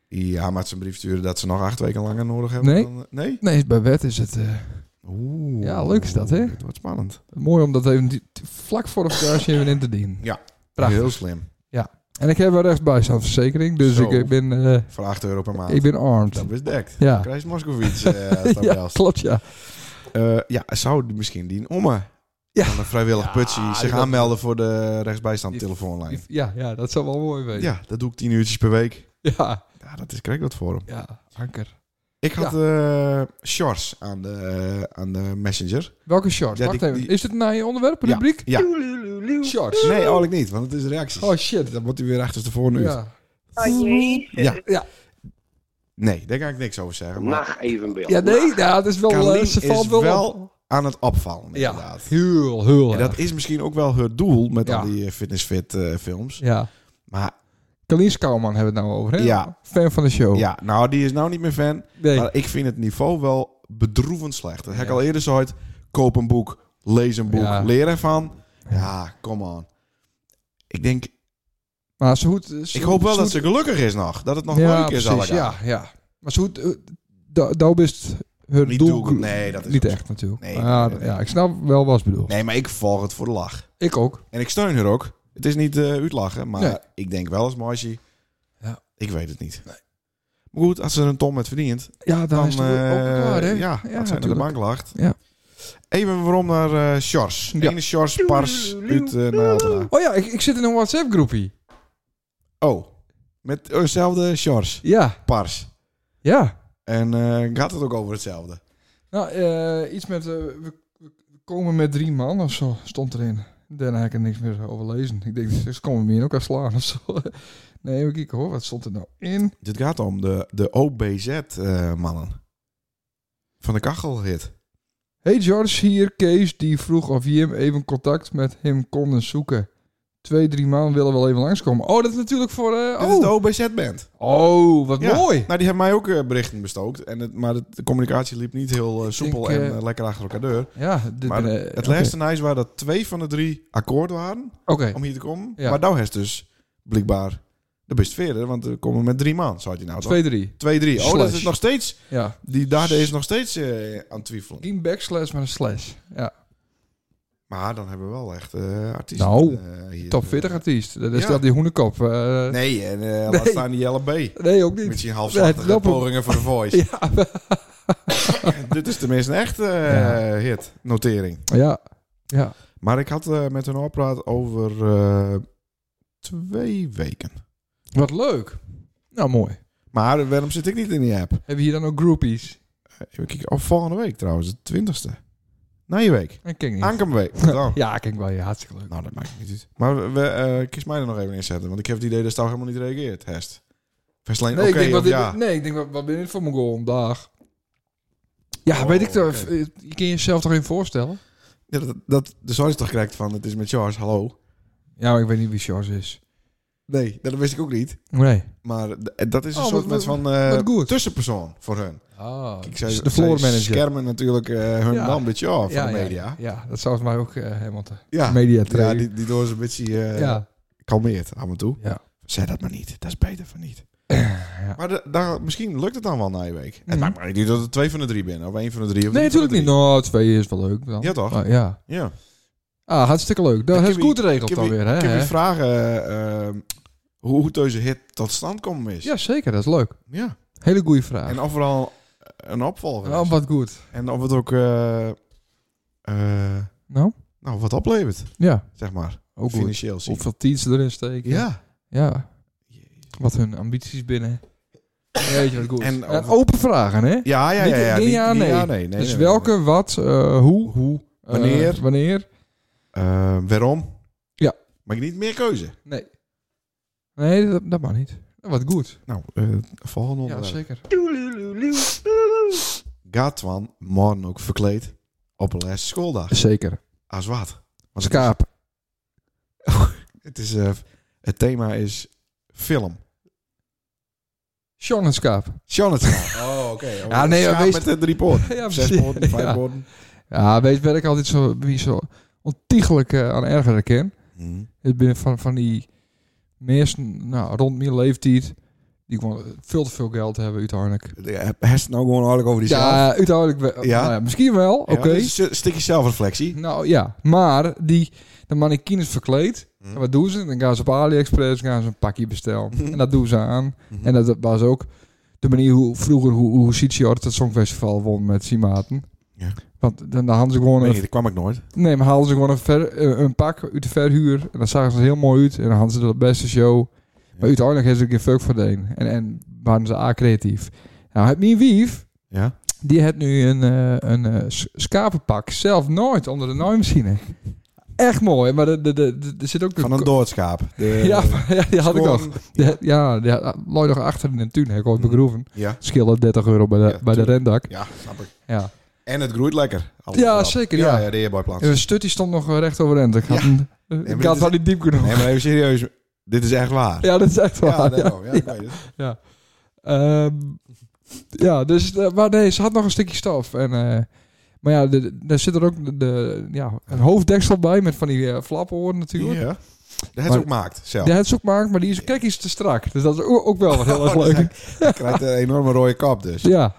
B: Ja, maar het is een brief sturen dat ze nog acht weken langer nodig hebben.
A: Nee.
B: dan- eh, nee?
A: nee, bij wet is het eh,
B: Oeh.
A: Ja, leuk is dat, hè?
B: Het wordt spannend.
A: mooi om dat even die- vlak voor de vakantie even in te dienen.
B: Ja.
A: Prachtig.
B: Heel slim.
A: En ik heb wel rechtsbijstandsverzekering, dus
B: Zo.
A: ik ben, eh,
B: Voor 8 euro per maand.
A: ik ben armed.
B: Dat is dekt.
A: Ja.
B: Dan Krijg je Moskovits. eh, als dat
A: Ja,
B: belt.
A: klopt, ja.
B: Eh, ja, zou die misschien die omme
A: Ja.
B: van een vrijwillig
A: Ja,
B: putsie zich
A: dat-
B: aanmelden voor de rechtsbijstand telefoonlijn?
A: Ja, ja, dat zou wel mooi zijn.
B: Ja, dat doe ik tien uurtjes per week.
A: ja.
B: Ja, dat is correct dat voor hem.
A: Ja, anker.
B: Ik had eh shorts aan de, eh, aan de messenger.
A: Welke shorts?
B: Ja,
A: Wacht
B: die-
A: even.
B: die-
A: Is dit naar je onderwerp, rubriek?
B: Ja.
A: Shorts.
B: Nee, eigenlijk niet, want het is reacties.
A: Oh shit.
B: Dan wordt hij weer achterstevoren uit.
A: Ja.
B: Ja.
A: Ja.
B: Nee, daar ga ik niks over zeggen. Maar
E: Nacht evenbeeld.
A: ja, nee, ja, het is wel... eh,
B: Carlien
A: ze
B: is
A: valt
B: wel,
A: op.
B: aan het afvallen,
A: Ja,
B: inderdaad.
A: heel, heel
B: En dat
A: erg.
B: is misschien ook wel het doel met
A: Ja.
B: al die eh, fitnessfit eh, films.
A: Ja.
B: Maar
A: Kalien Skouwman hebben we het nou over, hè?
B: Ja.
A: Fan van de show.
B: ja, nou, die is nou niet meer fan.
A: Oh. Nee.
B: Maar ik vind het niveau wel bedroevend slecht. Dat heb ik
A: Ja.
B: al eerder zo uit. Koop een boek, lees een boek,
A: Ja.
B: leer ervan. Ja, come on. Ik denk,
A: Maar ze hoed, ze
B: ik hoop wel
A: ze
B: dat
A: hoed-
B: ze gelukkig is nog. Dat het nog
A: ja,
B: leuk is
A: precies,
B: allemaal.
A: ja, ja. Maar ze hoed, eh, da- daar is hun
B: Niet
A: doel...
B: doel. Nee, dat is
A: niet
B: ook zo.
A: echt natuurlijk.
B: Nee,
A: Maar ja,
B: nee, nee.
A: ja, ik snap wel wat ze bedoelt.
B: Nee, maar ik volg het voor de lach.
A: Ik ook.
B: En ik steun haar ook. Het is niet eh uitlachen, maar
A: Nee.
B: ik denk wel eens, Margie.
A: Ja.
B: Ik weet het niet. Maar goed, als ze er een ton met verdient,
A: Ja, daar
B: dan...
A: is het ook
B: eh,
A: klaar, hè?
B: ja, als ze aan de
A: natuurlijk.
B: bank lacht.
A: Ja.
B: Even waarom naar eh Sjors.
A: Ja.
B: Ene Sjors Pars uit eh Naaltena.
A: Oh ja, ik, ik zit in een WhatsApp-groepie.
B: Oh, met dezelfde Sjors
A: Ja,
B: Pars.
A: ja.
B: En eh, gaat het ook over hetzelfde?
A: Nou, eh, iets met... eh, we, we komen met drie man of zo, stond erin. Daarna heb ik er niks meer over lezen. Ik denk, ze komen meer in elkaar slaan of zo. Nee, even kijken hoor, wat stond er nou in?
B: Dit gaat om de, de OBZ-mannen. eh, Van de kachelhit.
A: Hey George, hier Kees, die vroeg of Jim even contact met hem konden zoeken. Twee, drie maanden willen wel even langskomen. Oh, dat is natuurlijk voor... eh,
B: Dit is de
A: oh.
B: OBZ-band.
A: oh, wat
B: Ja.
A: mooi.
B: Nou, die hebben mij ook eh, berichten bestookt. En het, maar de communicatie liep niet heel eh, soepel
A: denk,
B: en
A: eh,
B: eh, lekker achter elkaar deur.
A: Ja, dit,
B: Maar
A: eh,
B: het
A: oké.
B: laatste nice waren dat twee van de drie akkoord waren
A: Oké,
B: om hier te komen.
A: Ja.
B: Maar nou is dus blijkbaar de best verder, want we komen met drie man, zou hij nou toch?
A: twee, drie.
B: Twee, drie. Oh, dat
A: Slash.
B: is nog steeds...
A: Ja.
B: Die daar is nog steeds eh, aan het twijfelen.
A: Geen backslash, maar een slash. Ja.
B: Maar dan hebben we wel echt eh, artiesten
A: Nou,
B: eh, hier.
A: Top 40 artiest. Dat is
B: Ja.
A: dat die hoenekop. eh, nee.
B: Nee, en eh, laat
A: Nee.
B: staan die LB.
A: ook niet.
B: Met
A: Nee,
B: zijn halfslachtige
A: dat-
B: pogingen voor de voice.
A: Ja,
B: Dit is tenminste een echte eh, hit, notering.
A: ja. ja.
B: Maar ik had eh, met hun al praat over eh, twee weken.
A: Wat leuk. Nou, mooi.
B: Maar waarom zit ik niet in die app? Eh,
A: Hebben we hier dan ook groupies?
B: Even kijken. Oh, volgende week trouwens, de twintigste. Na je week.
A: Dat ken ik niet.
B: Aankomende week. Dan.
A: ja, kijk wel. Ja, hartstikke leuk.
B: Nou, dat maakt niet uit. Maar we, we, eh, kies mij er nog even in zetten, want ik heb het idee dat Stouw helemaal niet reageert. Hest. Vast alleen
A: Nee,
B: oké
A: ik denk,
B: of
A: wat,
B: ja.
A: nee, ik denk, wat, wat ben je dit voor mijn goal vandaag? Ja,
B: Oh,
A: weet ik toch.
B: oké.
A: eh, Je kan jezelf toch even voorstellen?
B: Ja, dat, dat de zoon toch krijgt van, het is met Charles, hallo.
A: Ja, maar ik weet niet wie Charles is.
B: Nee, dat wist ik ook niet.
A: Nee.
B: Maar d- eh, dat is een
A: Oh,
B: soort
A: wat-
B: met van eh,
A: wat goed.
B: tussenpersoon voor hun.
A: Ah,
B: Ik
A: dus
B: zei,
A: de floor manager.
B: schermen natuurlijk eh, hun
A: Ja.
B: dan een beetje af van
A: ja,
B: de media.
A: Ja, ja, dat zou het mij ook eh, helemaal te...
B: Ja,
A: Media
B: ja
A: training.
B: die, die door ze een beetje eh,
A: ja.
B: kalmeert af en toe.
A: Ja.
B: Zeg dat maar niet, dat is beter van niet. Maar de, daar, misschien lukt het dan wel na je week.
A: Mhm.
B: Het maakt maar niet dat er twee van de drie binnen, of één van de drie. Of
A: Nee,
B: drie van de
A: natuurlijk niet. Nou, twee is wel leuk dan.
B: Ja, toch?
A: Ah, ja.
B: drie. Ja.
A: Ah, hartstikke leuk.
B: Ik
A: Dat is
B: heb
A: goed geregeld
B: ik
A: dan
B: heb
A: weer, hè?
B: Ik heb je
A: hè?
B: vragen eh, eh, hoe, hoe deze hit tot stand komen is.
A: Ja, zeker. Dat is leuk.
B: Ja.
A: Hele goede vraag.
B: En of er al een opvolger is.
A: oh, wat goed.
B: En of het ook eh, eh,
A: Nou,
B: nou, wat oplevert,
A: ja.
B: zeg maar.
A: Ook goed.
B: financieel zien.
A: Hoeveel tiens ze erin steken.
B: Ja.
A: Ja. Wat hun ambities binnen. Jeetje, wat goed. En,
B: En over-
A: open vragen, hè?
B: Ja, ja,
A: Niet-
B: ja. ja.
A: niet
B: Niet-
A: ja,
B: niet
A: nee.
B: nee, nee,
A: dus
B: nee,
A: welke, wat, eh, hoe,
B: Hoe?
A: eh,
B: Wanneer?
A: wanneer.
B: Eh, waarom?
A: Ja.
B: Maar ik niet meer keuze.
A: Nee. Nee, dat, dat mag niet. Wat goed.
B: Nou, eh volgende
A: Ja,
B: onderwerp.
A: zeker.
B: Gaat Twan morgen ook verkleed op een laatste schooldag?
A: Zeker.
B: Als wat? Want het is,
A: Skaap.
B: het, is, eh, het thema is film.
A: Sean en Skaap.
B: Jonathan. Oh, oké.
A: Ja, nee,
B: Schaap
A: wees-
B: met de drie poorten.
A: Ja,
B: Zes
A: precies.
B: poorten, vijf
A: Ja.
B: poorten.
A: Ja, weet je wat ik altijd zo, wie zo ontiegelijk eh, aan ergeren ken?
B: Hm.
A: Het binnen van, van die mensen, nou, rond mijn leeftijd, die gewoon veel te veel geld hebben uiteindelijk.
B: Hij heeft het nou gewoon eigenlijk over die zelf.
A: Ja, uiteindelijk wel.
B: Ja.
A: Nou ja, misschien wel, oké.
B: Ja, dus- dat is een stukje zelfreflectie.
A: Nou ja, maar die, de mannequin is verkleed.
B: Hm.
A: En wat doen ze? Dan gaan ze op AliExpress gaan ze een pakje bestellen.
B: Hm.
A: En dat doen ze aan.
B: Mhm.
A: En dat was ook de manier hoe vroeger hoe, hoe Sitjord het Songfestival won met Simaten.
B: Ja.
A: Want dan hadden ze gewoon een
B: Nee, daar kwam ik nooit.
A: Nee, maar haalden ze gewoon een, ver- eh, een pak uit de verhuur. En dan zagen ze er heel mooi uit. En dan hadden ze de beste show. Maar uiteindelijk hebben ze er geen fuck voor deen. En, en waren ze A-creatief. Nou, het mijn wief,
B: Ja?
A: die heeft nu een, eh, een eh, s- schapenpak. Zelf nooit onder de naaimachine. Echt mooi. Maar er de, de, de, er zit ook...
B: Van een eh, doodschaap. De-
A: ja, maar- ja, die had ik nog.
B: Scoren.
A: Die had- ja, die had- ah, looi nog achter in de tuin. Heb ik ooit begroeven.
B: Mm. Ja.
A: Schillen 30 euro bij de,
B: Ja,
A: bij de
B: tuurlijk.
A: rendak.
B: Ja, snap ik.
A: Ja.
B: En het groeit lekker. Alles
A: Ja,
B: erop.
A: zeker, ja.
B: Ja, ja de heerboy plaats.
A: En een stut die stond nog eh, recht overeind. Ik had, hem- eh,
B: maar
A: ik
B: dit
A: had
B: is-
A: wel niet diep genoeg.
B: Nee, maar even serieus. Dit is echt waar.
A: Ja, dat is echt waar.
B: Ja,
A: Ja,
B: daarom. Ja, ik weet het.
A: Ehm, ja, dus, eh, maar nee, ze had nog een stukje stof. En, eh, maar ja, de- de- daar zit er ook de, de- ja, een hoofddeksel bij met van die eh, flappenoren natuurlijk.
B: Ja. Dat het
A: Maar-
B: ook maakt zelf.
A: De headzoek maakt, maar die is kijk iets te strak. Dus dat is o- ook wel wat
B: Oh,
A: heel erg leuk.
B: Hij krijgt een enorme rode kap dus.
A: Ja,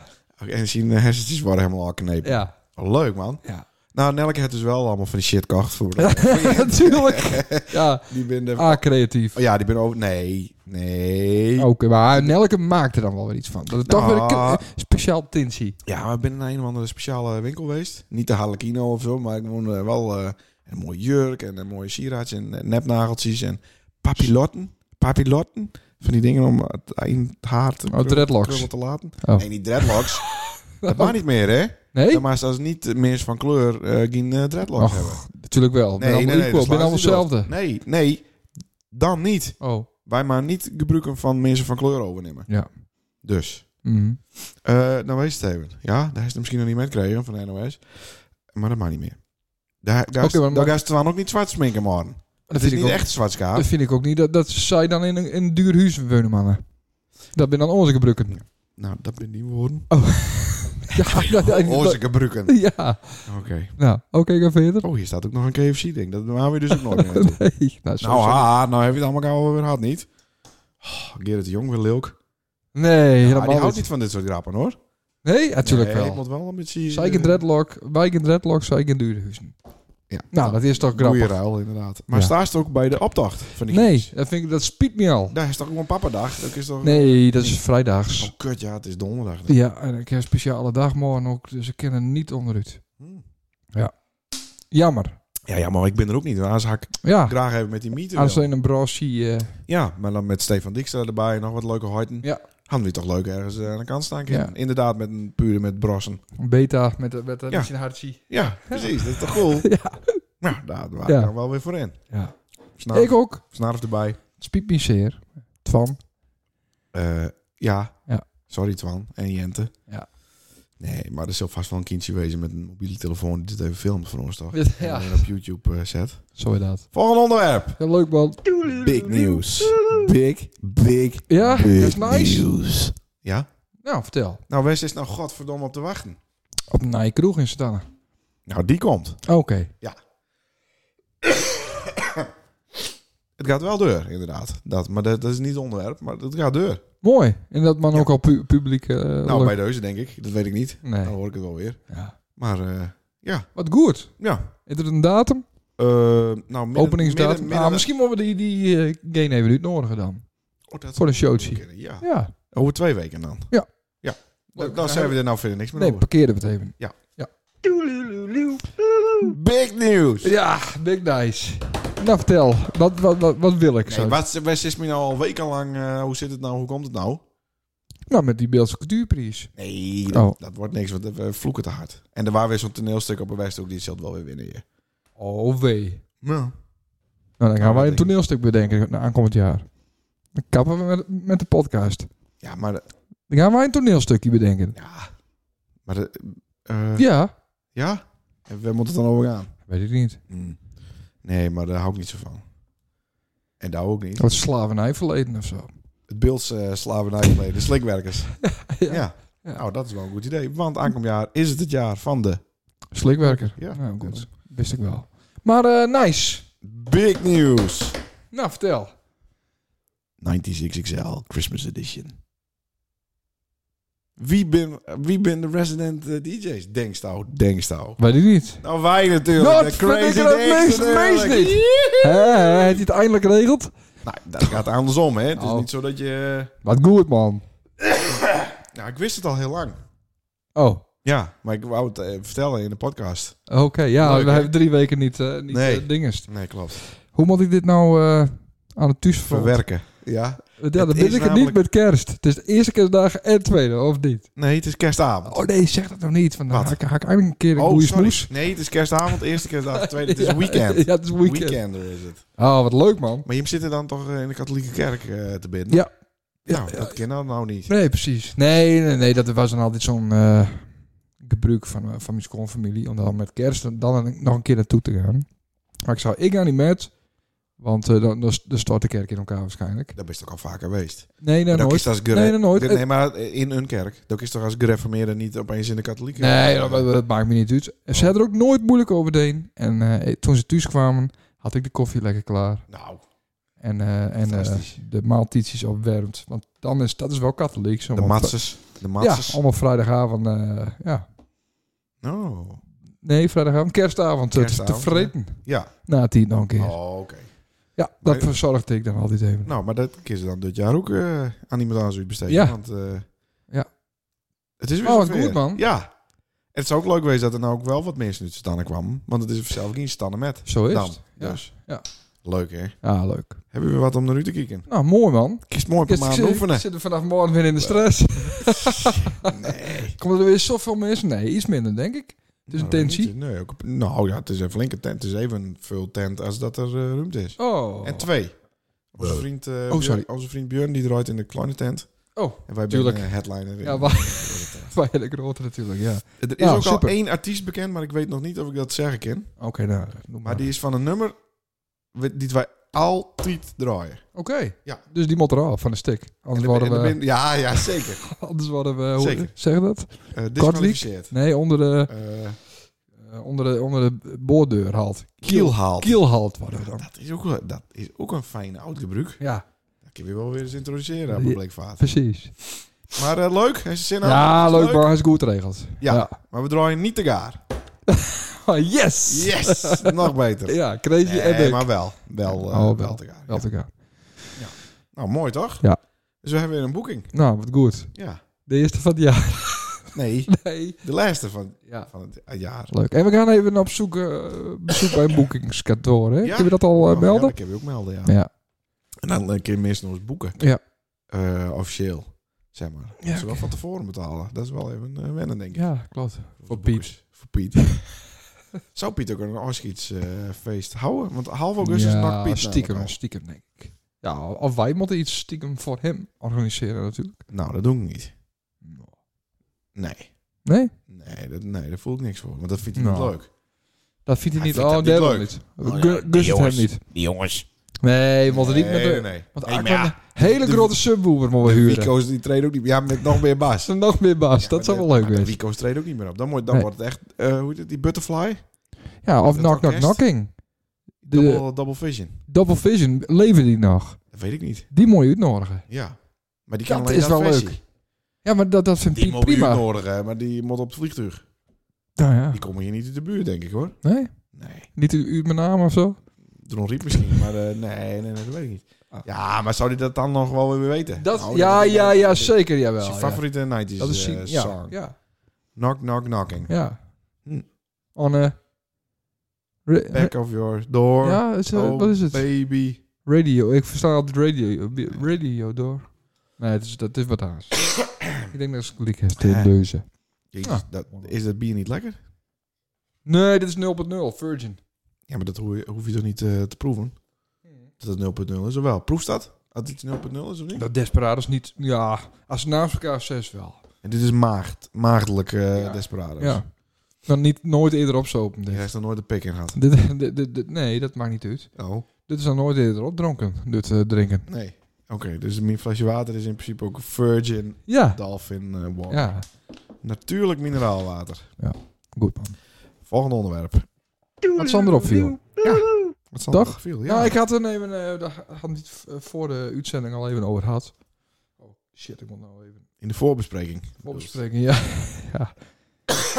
B: En zijn eh, hersentjes worden helemaal al knepen.
A: ja.
B: Leuk man.
A: Ja.
B: Nou, Nelke heeft dus wel allemaal van die shit gekocht voor.
A: Natuurlijk. Ja,
B: Die binnen.
A: A-creatief.
B: Oh, ja, die ben ook. Nee, nee.
A: Oké, maar Nelke maakt er dan wel weer iets van. Dat is toch weer een
B: Nou.
A: k- eh, speciaal tintie.
B: Ja, maar ik ben naar een of andere speciale winkel geweest. Niet de Harlekino of zo, maar gewoon eh, wel eh, een mooie jurk en een mooie sieraadje en eh, nepnageltjes en papillotten. Papillotten. Van die dingen om het eind haar te,
A: Oh, dreadlocks.
B: krullen te laten.
A: Oh.
B: Nee, die dreadlocks. dat mag niet meer, hè?
A: Nee?
B: Dan mag ze als niet meer van kleur eh geen eh, dreadlocks
A: Och,
B: hebben.
A: natuurlijk wel. ben allemaal equal,
B: dat
A: ben
B: slaat
A: allemaal
B: niet op.
A: hetzelfde.
B: Nee, nee, dan niet.
A: Oh,
B: Wij maar niet gebruiken van mensen van kleur overnemen.
A: Ja.
B: Dus.
A: mhm.
B: Eh, nou weet je het even. Ja, daar is het misschien nog niet met gekregen van de NOS. Maar dat maakt niet meer. Daar, daar,
A: Oké, maar-
B: daar gaan ze dan ook niet zwart sminken,
A: dat,
B: man. Het is
A: vind ik
B: niet
A: ook,
B: echt zwart schaap.
A: dat vind ik ook niet. Dat, dat zij dan in een, in een duur huis wonen, mannen. Dat ben dan onze gebruiken.
B: Nou, dat ben die woorden.
A: Ja, dat- dat-
B: Onze gebruiken. Oké.
A: ja. nou, oké, ga verder.
B: Oh, hier staat ook nog een KFC-ding. Dat gaan we dus ook nooit meer naartoe.
A: Nee, nou, zo-
B: Nou, ha, nou heb je het allemaal alweer gehad, niet? Oh, Gerrit de Jong weer leuk.
A: nee
B: Ja, die
A: helemaal
B: houdt
A: niet.
B: niet van dit soort grappen, hoor.
A: Nee, natuurlijk
B: Nee, Ik
A: wel.
B: moet wel een beetje... eh,
A: Zij in dreadlock, wij in dreadlock, zij in duurhuizen.
B: Ja.
A: Nou, dat is toch
B: Goeie
A: grappig.
B: ruil, inderdaad. Maar
A: Ja.
B: staat ze ook bij de optocht van die
A: Nee,
B: kids?
A: dat, vind ik, dat spiet me al.
B: Daar is toch gewoon papadag? Dat is toch...
A: Nee, dat is vrijdags.
B: Oh, kut, ja, het is donderdag.
A: Ja, en ik heb een speciale dag morgen ook, dus ik ken er niet onderuit. Jammer.
B: Ja, ja, maar ik ben er ook niet. Anders had ik
A: Ja,
B: graag even met die meeting.
A: als in een brassie. eh,
B: Ja, maar dan met Stefan Dijkstra erbij en nog wat leuke hoiten.
A: Ja.
B: Hadden we toch leuk ergens eh, aan de kant staan.
A: Ja.
B: kunnen. Inderdaad, met een puur met brossen.
A: beta met, met een
B: Ja.
A: beetje een hartje.
B: Ja, precies. Dat is toch cool?
A: Ja.
B: Nou, daar waren
A: Ja.
B: we dan wel weer voor in.
A: ja.
B: Snarf,
A: Ik ook.
B: snarf erbij.
A: Het Spiet me zeer. Twan.
B: Eh, ja.
A: Ja.
B: Sorry Twan en Jente.
A: Ja.
B: Nee, maar er zal vast wel een kindje wezen met een mobiele telefoon die dit even filmt voor ons toch?
A: Ja,
B: En op YouTube eh, zet.
A: zo inderdaad.
B: Volgende onderwerp.
A: Ja, leuk man.
B: Big news. Big, big,
A: Ja, dat
B: big
A: is nice.
B: news. Ja?
A: Nou, vertel.
B: Nou, Wes is nou godverdomme op te wachten.
A: Op een nieuwe kroeg in Sedanne.
B: Nou, die komt.
A: Oké.
B: Het gaat wel deur, inderdaad. Dat, maar dat, dat is niet het onderwerp, maar het gaat deur.
A: Mooi. En dat man
B: Ja.
A: ook al pu- publiek... eh,
B: Nou,
A: leuk-
B: bij Oh. deuze denk ik. Dat weet ik niet. Dan
A: Nee.
B: hoor ik het wel weer.
A: Ja.
B: Maar eh, ja,
A: Wat goed.
B: ja.
A: Is er een datum?
B: Eh, nou, midden,
A: Openingsdatum?
B: midden- midden-
A: ah, misschien moeten we die, die eh game even uitnodigen dan.
B: Oh, dat-
A: Voor een showtje.
B: Ja.
A: Ja.
B: Over twee weken dan.
A: Ja.
B: Ja. Dan,
A: Leuk.
B: dan zijn we er nou verder niks meer
A: Nee,
B: over.
A: parkeerden we het even.
B: Big news!
A: Ja, big nice. Nou, vertel. Wat, wat, wat, wat wil ik
B: Nee,
A: zo?
B: wat, Wes is me nou al wekenlang... eh, hoe zit het nou? Hoe komt het nou?
A: Nou, met die Beeldse cultuurprijs.
B: Nee, dat,
A: Oh.
B: dat wordt niks, want eh, we vloeken te hard. En er waren weer zo'n toneelstuk op een Westhoek, die zult wel weer winnen. hier.
A: Oh, wee.
B: Ja.
A: Nou, dan gaan
B: dat
A: wij
B: denk
A: een
B: ik.
A: toneelstuk bedenken na aankomend jaar. Dan kappen we met, met de podcast.
B: Ja, maar... de-
A: Dan gaan wij een toneelstukje bedenken.
B: Ja. Maar de, eh,
A: Ja.
B: ja? En waar moet het dan over gaan?
A: Weet ik niet.
B: Nee, maar daar hou ik niet zo van. En daar ook niet.
A: Wat slavernijverleden of zo.
B: Het beeldse uh, slavernij de slikwerkers. ja.
A: Ja.
B: Nou, dat is wel een goed idee. Want aankomend jaar is het het jaar van de...
A: Slikwerker.
B: Ja.
A: Nou, goed. Wist ik wel. Maar eh, nice.
B: Big news!
A: Nou, vertel.
B: 96XL Christmas Edition. Wie ben, wie ben de resident eh, DJ's? Denkst nou, denkst nou.
A: Weet ik niet.
B: Nou, wij natuurlijk.
A: Dat
B: de
A: vind ik
B: crazy
A: het
B: Dicks
A: meest-
B: natuurlijk.
A: meest niet. Hé, hé, heb je het eindelijk geregeld?
B: Nou, dat gaat andersom, hè. Het is
A: Oh.
B: niet zo dat je... eh,
A: Wat goed, man.
B: Nou, ik wist het al heel lang.
A: Oh, oké.
B: Ja, maar ik wou het eh, vertellen in de podcast.
A: ja,
B: Leuk,
A: we
B: hè?
A: hebben drie weken niet, eh niet
B: Nee.
A: eh, dingest.
B: Nee, klopt.
A: Hoe moet ik dit nou eh, aan het thuis verwerken?
B: Verwerken. Ja.
A: Ja, dan
B: Het
A: ben
B: is
A: ik het niet
B: namelijk-
A: met kerst. Het is de eerste kerstdag en tweede, of niet?
B: Nee, het is kerstavond.
A: Oh nee, zeg dat nog niet. Want dan
B: Wat? Oh,
A: haak ik, haak ik eigenlijk een keer een goede
B: sorry.
A: smoes.
B: Nee, het is kerstavond, eerste kerstdag, tweede. Het is weekend.
A: Ja, het is weekend.
B: Weekender is het.
A: Oh, wat leuk, man.
B: Maar je zit er dan toch eh, in de katholieke kerk eh, te bidden?
A: Ja.
B: Nou,
A: Ja,
B: dat kennen we nou niet.
A: Nee, precies. Nee, nee, nee. Dat was dan altijd zo'n eh gebruik van, eh, van mijn schoonfamilie. Om dan met kerst en dan een- nog een keer naartoe te gaan. Maar ik zou, ik ga niet met. Want eh, dan, dan, dan stort de kerk in elkaar waarschijnlijk.
B: Daar ben je toch al vaker geweest.
A: Nee, nou
B: Maar dan
A: nooit.
B: kiest als gere-
A: Nee, nou nooit.
B: Nee, maar in een kerk. Dan is toch als gereformeerde niet opeens in de katholieke
A: Nee, dat, dat- dat maakt me niet uit. Ze hadden er ook nooit moeilijk over deen. En eh, toen ze thuis kwamen, had ik de koffie lekker klaar.
B: Nou,
A: En, eh, en eh,
B: Fantastisch.
A: de maaltietjes opwarmd. Want dan is, dat is wel katholiek. Zo
B: de
A: want-
B: matzes. De
A: Ja,
B: matzes.
A: allemaal vrijdagavond. eh, ja.
B: Oh.
A: Nee, vrijdagavond, kerstavond, eh, te-
B: Kerstavond,
A: te vreten.
B: Ja.
A: Na het hier nog een keer.
B: Oh, oké.
A: Ja, dat
B: Maar-
A: verzorgde ik dan altijd even.
B: Nou, maar dat kiezen dan dit jaar ook eh, aan iemand anders uitbesteden.
A: Ja.
B: Want, eh,
A: Ja.
B: Het is weer
A: Oh, wat
B: zover.
A: goed, man.
B: Ja. En het zou ook leuk wezen dat er nou ook wel wat mensen uit standen kwamen. Want het is zelf geen standen met.
A: Zo is
B: Dan.
A: het. Ja.
B: Dus.
A: Ja.
B: Leuk, hè?
A: Ja, leuk.
B: Hebben we wat om naar u te kijken?
A: Nou, mooi man.
B: Kist mooi per
A: Ik
B: maand
A: zit, ik
B: oefenen.
A: zit er vanaf morgen weer in de stress.
B: Nee.
A: Komt er weer zoveel mensen? Nee, iets minder, denk ik. Het is een
B: Nou,
A: tensie.
B: niet- Nee, ook, op- nou ja, het is een flinke tent. Het is even veel tent als dat er eh, ruimte is.
A: Oh.
B: En twee. Onze vriend, eh, Björn-
A: sorry.
B: onze vriend Björn die draait in de kleine tent.
A: Oh,
B: En wij
A: Tuurlijk.
B: zijn eh, headliner. in-
A: Ja, maar-
B: in de tent.
A: Bij de grote natuurlijk, ja.
B: Er is
A: Nou,
B: ook
A: super.
B: al één artiest bekend, maar ik weet nog niet of ik dat zeggen kan.
A: Oké, nou, noem
B: Maar die is van een nummer we- die wij altijd draaien.
A: Oké,
B: Ja.
A: dus die moet er al van de stick. Anders
B: En de-
A: worden
B: en de
A: we...
B: bin- ja, ja, zeker.
A: Anders worden we... Hoe
B: Zeker.
A: zeg je dat?
B: Eh disqualificeerd.
A: Nee, onder de,
B: Eh,
A: eh, onder de, onder de boordeur haalt.
B: Kielhaalt.
A: Kielhaalt worden we dan.
B: Dat is, ook, wel- dat is ook een fijn oud gebruik.
A: Ja,
B: Dat kun je wel weer eens introduceren aan
A: Ja.
B: Bleekvaart.
A: precies.
B: Maar eh, leuk, heeft ze zin aan?
A: Ja,
B: Is het
A: leuk, maar hij is goed geregeld.
B: Ja.
A: Ja.
B: Maar we draaien niet te gaar.
A: Ah, yes!
B: Yes, nog beter.
A: Ja, crazy
B: Nee,
A: epic.
B: maar wel. Wel, eh,
A: Oh, wel.
B: wel te gaar.
A: Wel
B: Ja.
A: te gaan.
B: Nou, mooi toch?
A: Ja.
B: Dus we hebben weer een boeking.
A: Nou, wat goed.
B: Ja.
A: De eerste van het jaar.
B: Nee,
A: Nee.
B: de laatste van,
A: Ja.
B: van het eh, jaar.
A: Leuk. En we gaan even op zoek, eh, bezoek bij een boekingskantoor, hè?
B: Ja.
A: Kunnen we dat al eh,
B: Oh, Ja,
A: melden?
B: dat kun je ook melden, ja.
A: Ja.
B: En dan eh, kun je mensen nog eens boeken.
A: Ja.
B: Eh, officieel, zeg maar. Ja,
A: Ja,
B: wel van tevoren betalen. Dat is wel even eh, wennen, denk ik.
A: Ja, klopt. Voor
B: boekers.
A: Piet.
B: Voor Piet. Zou Piet ook een afscheidsfeest houden? Want half augustus
A: ja,
B: nakt Piet namelijk
A: stiekem,
B: al.
A: stiekem denk ik. Ja, of wij moeten iets stiekem voor hem organiseren natuurlijk.
B: Nou, dat doe ik niet. Nee.
A: Nee,
B: Nee, dat, nee, daar voel ik niks voor. Want dat vindt hij
A: Nou.
B: niet leuk.
A: dat vindt hij
B: Hij
A: niet.
B: vindt
A: oh,
B: dat
A: nee,
B: niet
A: dat
B: leuk.
A: niet.
B: Oh, ja,
A: Gun-
B: die
A: Gunst het hem
B: jongens.
A: niet.
B: Die jongens.
A: Nee, want
B: nee,
A: niet met de...
B: nee, nee.
A: Want
B: Nee,
A: Aquaman-
B: maar ja,
A: hele
B: de-
A: grote subwoofer mogen we
B: de
A: huren.
B: Wico's die treden ook niet meer. Ja, met nog meer baas.
A: Dat is nog meer baas.
B: Ja,
A: dat
B: maar
A: zou
B: de-
A: wel leuk
B: maar de
A: zijn.
B: Wico's treden ook niet meer op. Dan, moet, dan
A: Nee.
B: wordt het echt, eh, hoe heet het, die butterfly?
A: Ja, of
B: dat
A: Knock Knock
B: orkest.
A: Knocking. De
B: Double, double vision.
A: Double Vision, leven die nog?
B: Dat weet ik niet.
A: Die moet je uitnodigen.
B: Ja. Maar die
A: Dat
B: kan alleen
A: is
B: dat
A: wel
B: versie.
A: leuk. Ja, maar dat, dat vindt
B: Die
A: Piet
B: mogen
A: prima.
B: prima. nodig, maar die moet op het vliegtuig.
A: Nou ja,
B: Die komen hier niet uit de buurt, denk ik hoor.
A: nee?
B: Nee.
A: Niet u, u mijn naam of zo?
B: Dron Riep misschien, maar eh, nee, nee, nee, dat weet ik niet.
A: Ah.
B: Ja, maar zou die dat dan nog wel weer weten?
A: Dat,
B: Nou,
A: ja,
B: dat-
A: ja,
B: dat-
A: ja,
B: dat-
A: zeker,
B: Dat is
A: jawel.
B: je
A: ja.
B: favoriete 90s
A: Dat is
B: eh,
A: zien- ja,
B: song.
A: ja,
B: Knock, knock, knocking.
A: ja.
B: Hm.
A: On a... ra-
B: Back of your door.
A: ja, het is, eh,
B: Oh,
A: wat is het?
B: baby.
A: Radio. Ik versta altijd radio. Radio door. Nee, het is, dat is wat haast. Ik denk dat het klik is.
B: Ja.
A: De leuze.
B: Jezus,
A: Ja.
B: dat, is dat bier niet lekker?
A: Nee, dit is 0.0. Virgin.
B: Ja, maar dat hoef je, hoef je toch niet eh, te proeven? Dat het 0.0 is, of wel? Proef dat? Dat het 0.0 is of niet?
A: Dat Desperados niet... Ja, als ze naast elkaar zes wel.
B: En dit is maagd, maagdelijke eh,
A: Ja.
B: desperados.
A: Ja. Dan niet nooit eerder opzopen.
B: Die
A: Dit.
B: heeft er nooit de pik in gehad.
A: Dit, dit, dit- dit- nee, dat maakt niet uit.
B: Oh.
A: Dit is dan nooit eerder opdronken. Dit eh, drinken.
B: Nee. Oké, dus mijn flesje water is in principe ook virgin
A: Ja.
B: dolphin eh, water.
A: Ja.
B: Natuurlijk mineraalwater.
A: Goed man.
B: Volgende onderwerp.
A: Wat Sander opviel.
B: Wat
A: Dag.
B: nog Veel,
A: Ja, ik had er even... eh, daar had ik het eh, voor de uitzending al even over gehad. Oh shit, ik moet nou even...
B: In de voorbespreking.
A: Opspreken, ja. ja.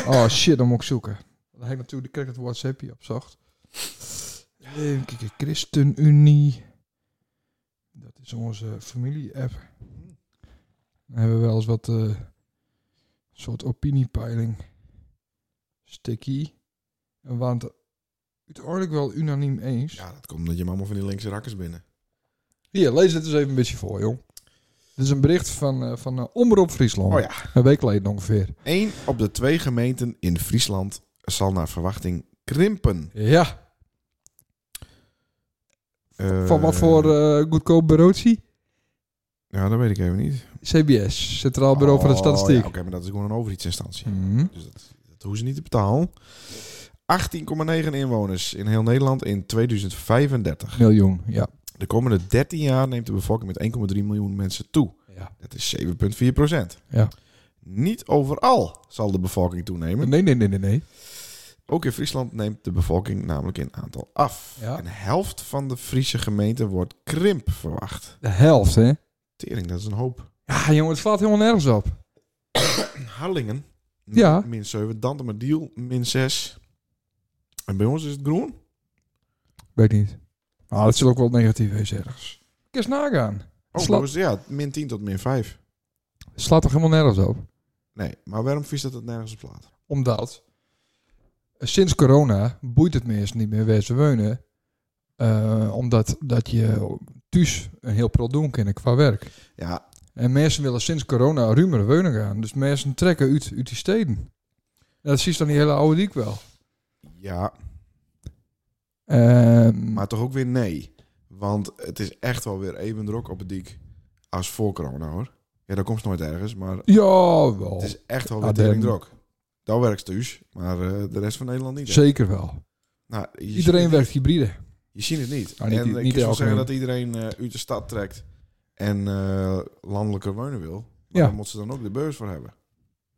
A: Oh shit, dan moet ik zoeken. Dan heb ik natuurlijk krijg ik het WhatsAppje op zacht. Even kijken. ChristenUnie. Dat is onze familie-app. Dan hebben we wel eens wat eh, soort opiniepeiling. Sticky. En waren het uiteindelijk wel unaniem eens.
B: Ja, dat komt omdat je hem allemaal van die linkse rakkers binnen.
A: Hier, lees dit eens even een beetje voor, jong. Dit is een bericht van, eh, van eh, Omroep Friesland.
B: Oh ja.
A: Een week geleden ongeveer.
B: Eén op de twee gemeenten in Friesland zal naar verwachting krimpen.
A: Ja, van wat
B: Eh,
A: voor eh, goedkoop bureautje?
B: Ja, dat weet ik even niet.
A: CBS, Centraal Bureau voor de
B: Oh,
A: Statistiek.
B: ja, Oké, maar dat is gewoon een overheidsinstantie.
A: Mhm.
B: Dus dat, Dat hoeven ze niet te betalen. 18,9 inwoners in heel Nederland in 2035.
A: Miljoen, ja.
B: De komende 13 jaar neemt de bevolking met 1,3 miljoen mensen toe.
A: ja.
B: Dat is 7,4 procent.
A: Ja.
B: Niet overal zal de bevolking toenemen.
A: Nee, nee, nee, nee, nee.
B: Ook in Friesland neemt de bevolking namelijk in aantal af.
A: Ja.
B: Een helft van de Friese gemeenten wordt krimp verwacht.
A: De helft, hè?
B: Tering, dat is een hoop.
A: Ja, jongen, het slaat helemaal nergens op.
B: Harlingen,
A: Ja.
B: min 7. Dantemadiel, min 6. En bij ons is het groen.
A: Weet niet. Ah, dat zal ook wel negatief wezen ergens. Kijk eens nagaan.
B: Oh,
A: Sla-
B: dat was- ja, min 10 tot min 5.
A: Het slaat toch helemaal nergens op?
B: Nee, maar waarom vies dat het nergens op slaat?
A: Omdat eh, sinds corona boeit het mensen niet meer waar ze wonen. Eh, omdat dat je thuis een heel pril doen kan qua werk.
B: Ja,
A: En mensen willen sinds corona ruimer wonen gaan. Dus mensen trekken uit, uit die steden. En dat zie je dan die hele oude diek wel.
B: ja,
A: Ehm,
B: maar toch ook weer nee. Want het is echt wel weer even druk op het dik als voor corona hoor. Ja, dat komt nooit ergens, maar
A: ja, wel.
B: het is echt wel
A: Ah,
B: weer tering
A: dan-
B: druk. Dat werkt thuis, maar eh, de rest van Nederland niet. hè?
A: Zeker wel.
B: Nou, je ziet
A: Iedereen
B: het-
A: werkt hybride.
B: Je ziet het niet.
A: Nou, niet-
B: en
A: niet-
B: ik
A: niet
B: kan wel
A: elke
B: zeggen
A: week.
B: dat iedereen eh, uit de stad trekt en eh, landelijker wonen wil. Maar
A: Ja.
B: dan moeten ze dan ook de beurs voor hebben.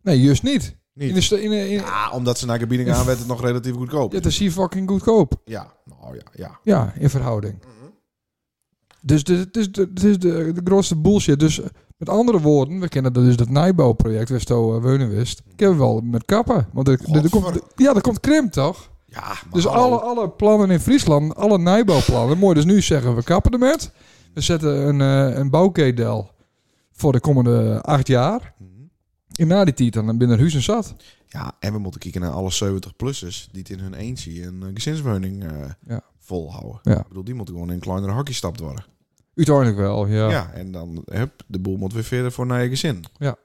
A: Nee, juist niet.
B: Niet.
A: In de, sta- in, in,
B: Ja, omdat ze naar Gebiedingen aan werd het nog relatief goedkoop.
A: ja, dat is hier fucking goedkoop.
B: Ja, nou ja, ja.
A: Ja, in verhouding.
B: Mhm.
A: Dus dit het is, de- het is de, de grootste bullshit. Dus eh, met andere woorden, we kennen dat dus dat Nijbouwproject, Westo uh, Weunenwest. Kennen we wel met kappen. Want er, er- er komt,
B: Mhm. Godver.
A: ja, er komt krimp toch?
B: Ja, maar
A: dus
B: hallo.
A: alle, alle plannen in Friesland, alle Nijbouwplannen. Mooi, dus nu zeggen we kappen ermee. We zetten een, eh een bouwkedel voor de komende acht jaar.
B: Mhm.
A: En na die tijd dan binnen huis en zat.
B: Ja, en we moeten kijken naar alle 70-plussers die het in hun eentje een eh, gezinswoning eh,
A: Ja.
B: volhouden.
A: Ja.
B: Ik bedoel, die moeten gewoon in kleinere hakjes stapt worden.
A: Uiteindelijk wel, ja.
B: Ja. en dan hup, de boel moet weer verder voor naar je gezin.
A: Ja.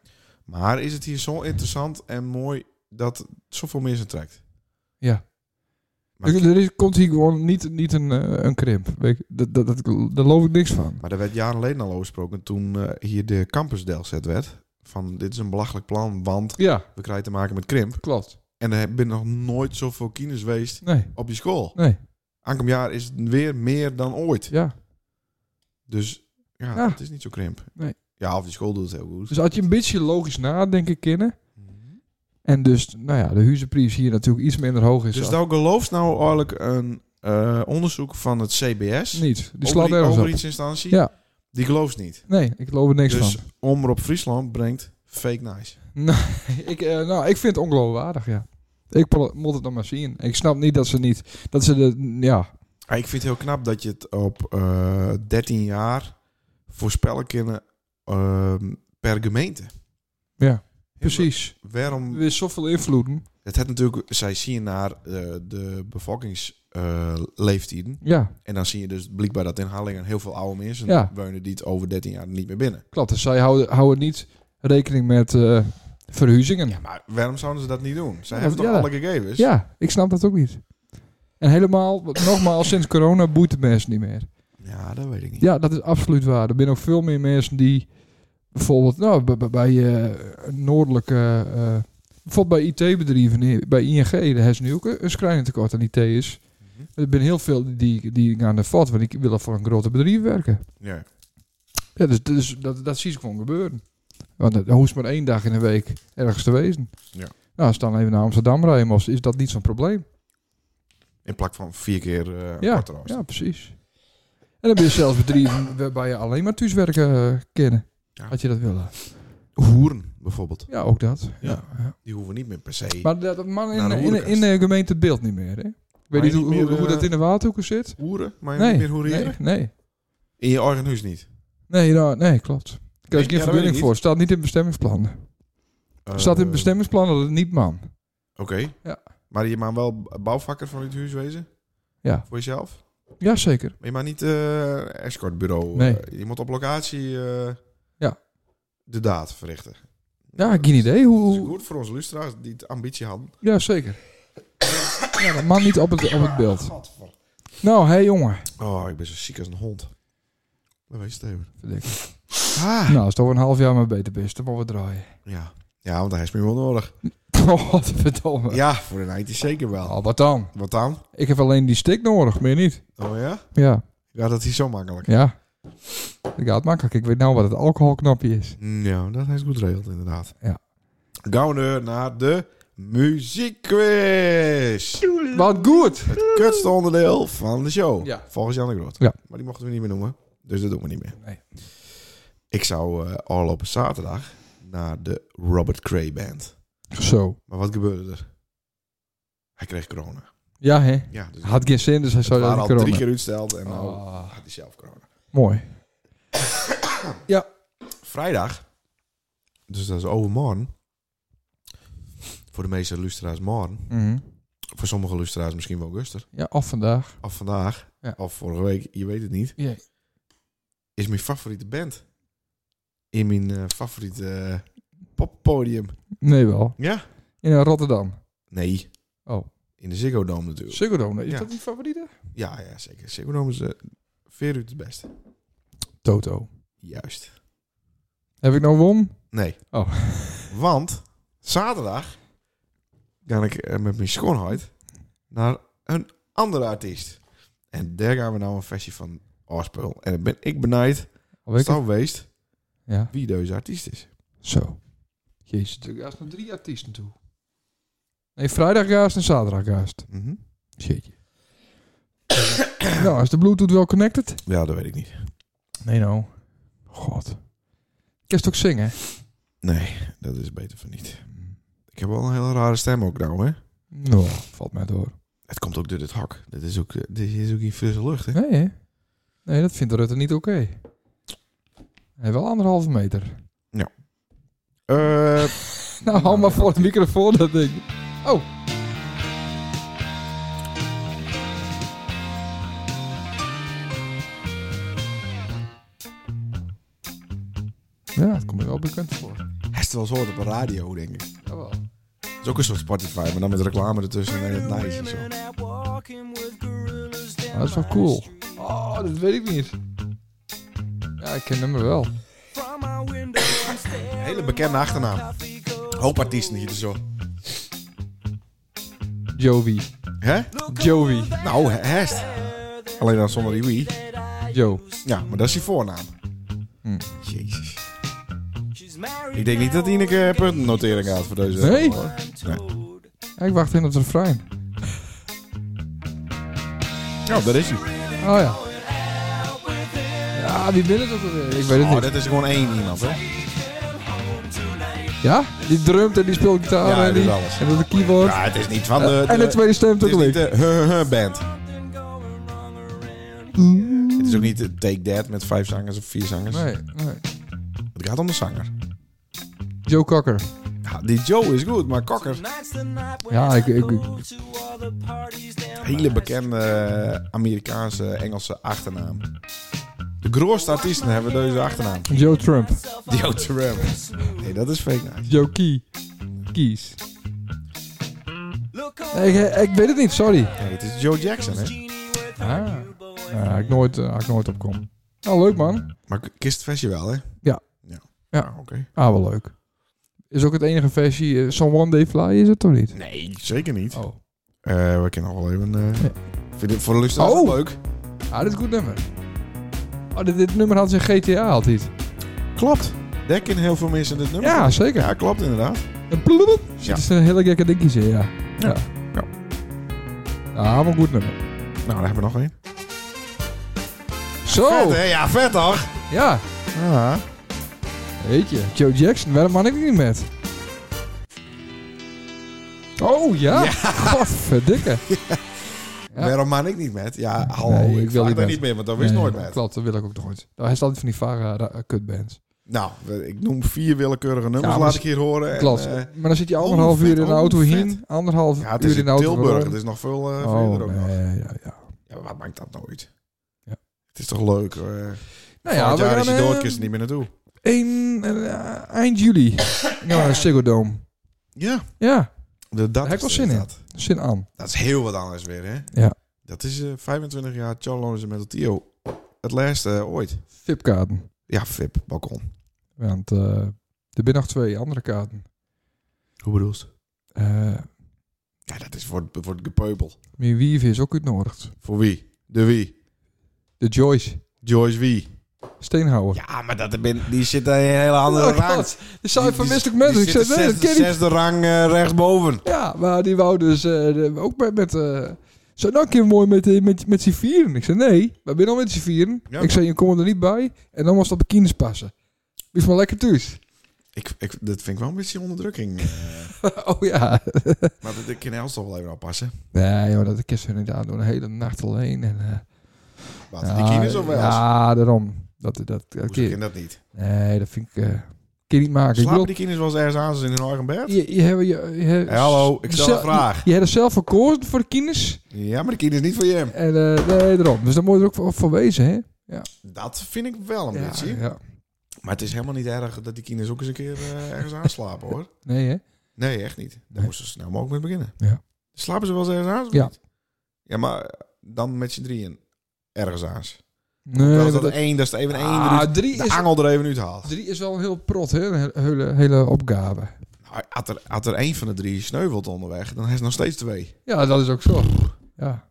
B: Maar is het hier zo interessant en mooi dat het zoveel mensen trekt? Maar-
A: Er, er is, komt hier gewoon niet, niet een, eh, een krimp. Weet je, dat, dat, dat, daar loop ik niks van.
B: Maar daar werd jaren geleden al over gesproken toen eh, hier de campusdel zet werd. Van dit is een belachelijk plan, want
A: Ja,
B: we krijgen te maken met krimp.
A: klopt.
B: En er zijn nog nooit zoveel kinders geweest
A: Nee,
B: op je school.
A: nee,
B: Aankomend jaar is het weer meer dan ooit.
A: ja.
B: Dus ja,
A: Ja.
B: het is niet zo krimp.
A: Nee.
B: Ja, of die school doet het heel goed. Mhm.
A: Dus als je een beetje logisch nadenken kennen... en dus, nou ja, de huizenprijs hier natuurlijk iets minder hoog is...
B: Dus
A: dan-
B: nou gelooft nou eigenlijk een eh, onderzoek van het CBS.
A: niet. Die
B: over
A: slaat nergens op.
B: overheidsinstantie.
A: Ja.
B: Die gelooft niet.
A: Nee, ik geloof er niks
B: Dus
A: van.
B: Omroep Friesland brengt fake nice.
A: Ik, eh, nou, ik vind het ongeloofwaardig, ja. Ik pro- moet het nog maar zien. Ik snap niet dat ze niet... Dat ze de... Ja,
B: Ah, ik vind het heel knap dat je het op eh 13 jaar voorspellen kunnen ehm, per gemeente.
A: ja, precies.
B: Waarom?
A: Er is zoveel invloeden.
B: Het heeft natuurlijk, zij zien naar eh, de bevolkingsleeftijden.
A: Ja,
B: en dan zie je dus blijkbaar dat in Hallingen heel veel oude mensen
A: Ja.
B: wonen die het over 13 jaar niet meer binnen.
A: klopt. Dus zij houden, houden niet rekening met eh, verhuizingen. Ja.
B: Maar waarom zouden ze dat niet doen? Zij
A: Ja,
B: hebben toch
A: ja.
B: alle gegevens?
A: ik snap dat ook niet. En helemaal, nogmaals, sinds corona boeit de mensen niet meer.
B: Ja, dat weet ik niet.
A: Ja, dat is absoluut waar. Er zijn ook veel meer mensen die bijvoorbeeld nou, bij- bij- bij eh, noordelijke, eh, bijvoorbeeld bij IT-bedrijven, hier, bij ING, daar hebben ze nu ook een een schrijnend tekort aan IT is. Er zijn heel veel die, die gaan naar vat, want die willen voor een grote bedrijf werken.
B: Ja.
A: Ja, dus, dus dat, dat zie ik gewoon gebeuren. Want dan hoeft maar één dag in de week ergens te wezen.
B: Ja.
A: Nou, als ze dan even naar Amsterdam rijden moest, is dat niet zo'n probleem.
B: In plak van vier keer eh
A: Ja,
B: korter afstand.
A: ja, precies. En dan ben je zelfs bedrijven waarbij je alleen maar thuiswerken eh, kennen.
B: Ja.
A: Als je dat wil.
B: Hoeren bijvoorbeeld.
A: Ja, ook dat.
B: Ja.
A: Ja. ja.
B: Die hoeven niet meer per se.
A: Maar dat dat man in, eh,
B: Naar de
A: in, in,
B: hoerenkast.
A: de gemeente beeld niet meer. Hè? Ik weet
B: je
A: niet hoe,
B: niet
A: hoe,
B: meer,
A: hoe
B: eh,
A: dat in de waterhoeken zit.
B: hoeren, maar
A: Nee,
B: niet meer hoeren.
A: nee, nee.
B: In je eigen huis niet.
A: Nee, nou, nee, klopt. Daar krijg ik geen
B: Nee, ja, dat weet ik
A: verbinding
B: niet.
A: voor. Staat niet in bestemmingsplannen. Staat in
B: Eh,
A: bestemmingsplannen dat het niet man.
B: Oké.
A: Ja.
B: Maar je mag wel bouwvakker van het huis wezen?
A: Ja.
B: Voor jezelf?
A: Jazeker.
B: Maar je mag niet eh escortbureau.
A: Nee.
B: eh, je moet op locatie eh,
A: Ja.
B: de daad verrichten.
A: Ja, geen idee. Hoe,
B: Dat is
A: hoe,
B: goed voor onze lustra's die het ambitie hadden.
A: ja, zeker. ja, dat man niet op het, op het beeld. Nou, hé hey, jongen.
B: Oh, ik ben zo ziek als een hond. Dat weet je even.
A: Verdikke.
B: Ah.
A: Nou, als het over een half jaar maar beter bent, dan mogen we draaien.
B: Ja. ja, want hij is meer wel nodig.
A: Wat verdomme.
B: Ja, voor een eindje zeker wel.
A: Nou, wat dan?
B: Wat dan?
A: Ik heb alleen die stick nodig, meer niet.
B: Oh ja?
A: Ja,
B: Ja, dat is zo makkelijk.
A: ja. Dat gaat makkelijk. Ik weet nou wat het alcoholknopje is.
B: Nou, dat is goed geregeld inderdaad.
A: Ja.
B: Gaan we naar de muziekquiz.
A: Wat goed!
B: Het kutste onderdeel van de show.
A: Ja.
B: Volgens Jan de Groot.
A: Ja.
B: Maar die mochten we niet meer noemen. Dus dat doen we niet meer.
A: Nee.
B: Ik zou eh afgelopen zaterdag naar de Robert Cray Band.
A: Zo.
B: Maar wat gebeurde er? Hij kreeg corona.
A: Ja, hè?
B: Ja, dus
A: Hij Had geen zin, dus hij
B: het
A: zou
B: waren
A: dat
B: al
A: corona.
B: drie keer uitsteld en nou
A: Ah,
B: had hij zelf corona.
A: mooi.
B: Vrijdag, dus dat is overmorgen. Voor de meeste luisteraars morgen.
A: Mhm.
B: Voor sommige luisteraars misschien wel guster.
A: Ja, af vandaag.
B: Of vandaag,
A: Ja.
B: of vorige week, je weet het niet.
A: Ja.
B: is mijn favoriete band. In mijn eh, favoriete eh, poppodium.
A: Nee, wel.
B: Ja?
A: In eh, Rotterdam.
B: Nee,
A: Oh,
B: in de Ziggo Dome natuurlijk.
A: Ziggo Dome, Is
B: Ja.
A: dat die favoriete?
B: Ja, ja zeker. Ziggo Dome is eh veruit het beste.
A: Toto.
B: Juist.
A: Heb ik nou won?
B: Nee.
A: Oh.
B: Want zaterdag ga ik eh, met mijn schoonheid naar een andere artiest. En daar gaan we nou een versie van afspelen. En dan ben ik benijd,
A: Al weet ik het.
B: staan weest,
A: Ja,
B: wie deze artiest is.
A: zo. Jezus, er gaan nog drie artiesten toe. Nee, vrijdag gaast en zaterdag gaast.
B: Mhm.
A: Shitje. nou, is de Bluetooth wel connected?
B: Ja, dat weet ik niet.
A: Nee, nou. God. Je het ook zingen?
B: Nee, dat is beter van niet. Ik heb wel een hele rare stem ook nou, hè.
A: Nou, valt mij door.
B: Het komt ook door dit hak. Dit is ook, eh, dit is ook geen frisse lucht, hè?
A: Nee, hè? Nee, dat vindt Rutte niet oké. Hij wel anderhalve meter.
B: Eh,
A: Nou, hou maar voor de microfoon dat ding. Oh. Ja, het komt me wel bekend voor.
B: hij is wel eens gehoord op de radio, denk ik.
A: Jawel.
B: Het is ook een soort Spotify, maar dan met reclame ertussen en het nice en zo.
A: Maar dat is wel cool. Oh, dat weet ik niet. Ja, ik ken hem wel.
B: Een hele bekende achternaam. Hoop artiesten hier dus zo.
A: Jovi.
B: Hè?
A: Jovi.
B: Nou, he- herst. Alleen dan zonder die wie.
A: Joe.
B: Ja, maar dat is je voornaam.
A: Hm.
B: Jezus. Ik denk niet dat Ineke puntennotering gaat voor deze.
A: Nee?
B: hoor. nee.
A: Ja, ik wacht in op het refrein.
B: Nou, dat is hij.
A: Oh ja. Ja, wie ben het ook alweer? Ik weet het
B: Oh,
A: niet.
B: dat is gewoon één iemand, hè?
A: Ja? Die drumt en die speelt gitaar
B: Ja,
A: en
B: dat
A: die...
B: is alles.
A: En dat de keyboard.
B: Ja, het is niet van de...
A: Eh, en de tweede stem
B: Het is niet eh,
A: tegelijk.
B: de huh-huh-band. Het is ook niet de Take That met vijf zangers of vier zangers.
A: Nee, nee.
B: Het gaat om de zanger.
A: Joe Cocker.
B: Ja, die Joe is goed, maar Kokker,
A: Ja, ik... ik, ik-
B: hele bekende eh, Amerikaanse, Engelse achternaam. De grootste artiesten hebben deze achternaam.
A: Joe Trump.
B: Joe Terrell. Nee, dat is fake nice.
A: Joe Key. Keys. Nee, ik, eh, ik weet het niet, sorry.
B: Nee, het is Joe Jackson, hè?
A: Ah. Ja, ik nooit, eh, ik nooit opkom. Nou, leuk man.
B: Maar k- kist het versje wel, hè?
A: Ja.
B: Ja,
A: Ja.
B: Ah, oké.
A: Ah, wel leuk. Is ook het enige versie... eh, Someone Day Fly is het toch niet?
B: Nee, zeker niet.
A: Oh.
B: Eh, we kennen nog wel even... eh,
A: Ja.
B: Vind je het voor de luisteraars
A: Oh.
B: wel leuk?
A: Ah, dit is een goed nummer. Oh, dit, dit nummer had ze in GTA altijd.
B: Klopt. Daar kennen heel veel mensen dit nummer.
A: Ja,
B: van.
A: zeker.
B: Ja, klopt inderdaad.
A: En ploep.
B: Ja.
A: Het is een hele gekke dingetjes in, ja. Ja.
B: Ja.
A: Ja, maar een goed nummer.
B: Nou, daar hebben we nog één.
A: Zo!
B: Vet, hè? Ja, vet toch?
A: ja.
B: Ja.
A: Weet je, Joe Jackson, waarom man ik die niet met? Oh ja? Godverdikke. Ja.
B: Waarom man ik niet met? Ja, hallo,
A: Nee,
B: ik, wil niet,
A: met.
B: niet meer, want dat wist
A: Nee,
B: nooit met.
A: Klopt, dat wil ik ook nooit. Nou, hij staat altijd van die vage eh, kutbands.
B: Nou, we- ik noem vier willekeurige nummers,
A: Ja, maar-
B: laat ik hier horen. En,
A: Klopt.
B: eh,
A: maar dan zit je anderhalf uur in de
B: onvet,
A: auto
B: onvet.
A: heen, anderhalf
B: ja, het is
A: uur in
B: in
A: de auto
B: Tilburg,
A: weer
B: het is nog veel eh,
A: om.
B: verder
A: Oh,
B: ook nog.
A: nee, ja, ja.
B: Ja, wat maakt dat nooit?
A: Ja.
B: Het is toch leuk? eh nou
A: Nou ja, we
B: jaar is je
A: gaan
B: dood,
A: eh,
B: kun je er niet meer naartoe.
A: één, eh, eind juli. Nou, naar Ziggo Dome.
B: Ja,
A: Ja,
B: de, dat
A: heb ik wel
B: is
A: zin in.
B: dat.
A: zin aan.
B: Dat is heel wat anders weer, hè?
A: Ja.
B: Dat is eh, 25 jaar Charles en Metal Tio. Het laatste eh, ooit.
A: VIP-kaarten.
B: Ja, Fip, balkon.
A: Want eh er zijn nog twee andere kaarten.
B: Hoe bedoelst?
A: eh
B: Ja, dat is voor, voor het gepeupel.
A: mijn wief is ook uitnodigd.
B: Voor wie? De wie?
A: De Joyce
B: Joyce wie?
A: Steenhouwer.
B: Ja, maar dat, ben- die zit in een hele andere
A: Oh,
B: rang.
A: God. Er zijn
B: Die- die-
A: vermisselijk mensen.
B: die
A: Ik
B: zit
A: zei, nee,
B: de
A: dat ken
B: zesde,
A: ik.
B: zesde rang eh, rechtsboven.
A: Ja, maar die wou dus eh, de- ook met... met eh, zo, nou, een keer mooi met, eh, met, met z'n vieren. Ik zei, nee, we zijn al met z'n vieren.
B: Ja.
A: Ik zei, je komt er niet bij. En dan was dat bikines passen. Is maar lekker thuis.
B: Ik, ik, dat vind ik wel een beetje onderdrukking. eh.
A: oh ja.
B: maar dat ik in Els toch wel even oppassen.
A: Nee, joh, dat kist ze inderdaad door de hele nacht alleen. En, eh,
B: Wat, die kines of wel? Ja,
A: Ja, daarom. Dat, dat, dat,
B: Hoezo
A: kun je-
B: ken dat niet?
A: nee, dat vind ik... eh kun je niet maken. Ik
B: Slapen
A: bedoel,
B: die kines wel eens ergens aan ze in hun eigen bed?
A: je, je, hebt- je, je hebt-
B: Hey, hallo, ik stel
A: zelf-
B: een vraag.
A: Je, je hebt er zelf verkozen voor de kines.
B: Ja, maar de kines niet voor je.
A: En eh, nee, daarom. Dus daar moet je er ook voor, voor wezen, hè?
B: Dat vind ik wel een beetje.
A: ja.
B: Maar het is helemaal niet erg dat die kines ook eens een keer eh, ergens aanslapen hoor.
A: Nee, hè?
B: Nee, echt niet. Daar
A: Nee.
B: moesten ze snel mogelijk mee beginnen.
A: Ja.
B: Slapen ze wel eens ergens aan? of
A: Ja.
B: niet? Ja, maar eh, dan met z'n drieën ergens aan.
A: Nee,
B: dat
A: maar
B: is dat
A: Eh, dat-
B: één, dat is er even één. eruit-
A: ah, drie,
B: de
A: is,
B: angel er even uit haalt.
A: drie is wel een heel prot, hè? Een he- hele, hele opgave.
B: Nou, had, er, had er één van de drie sneuvelt onderweg, dan is er nog steeds twee.
A: Ja, dat is ook zo. Ja.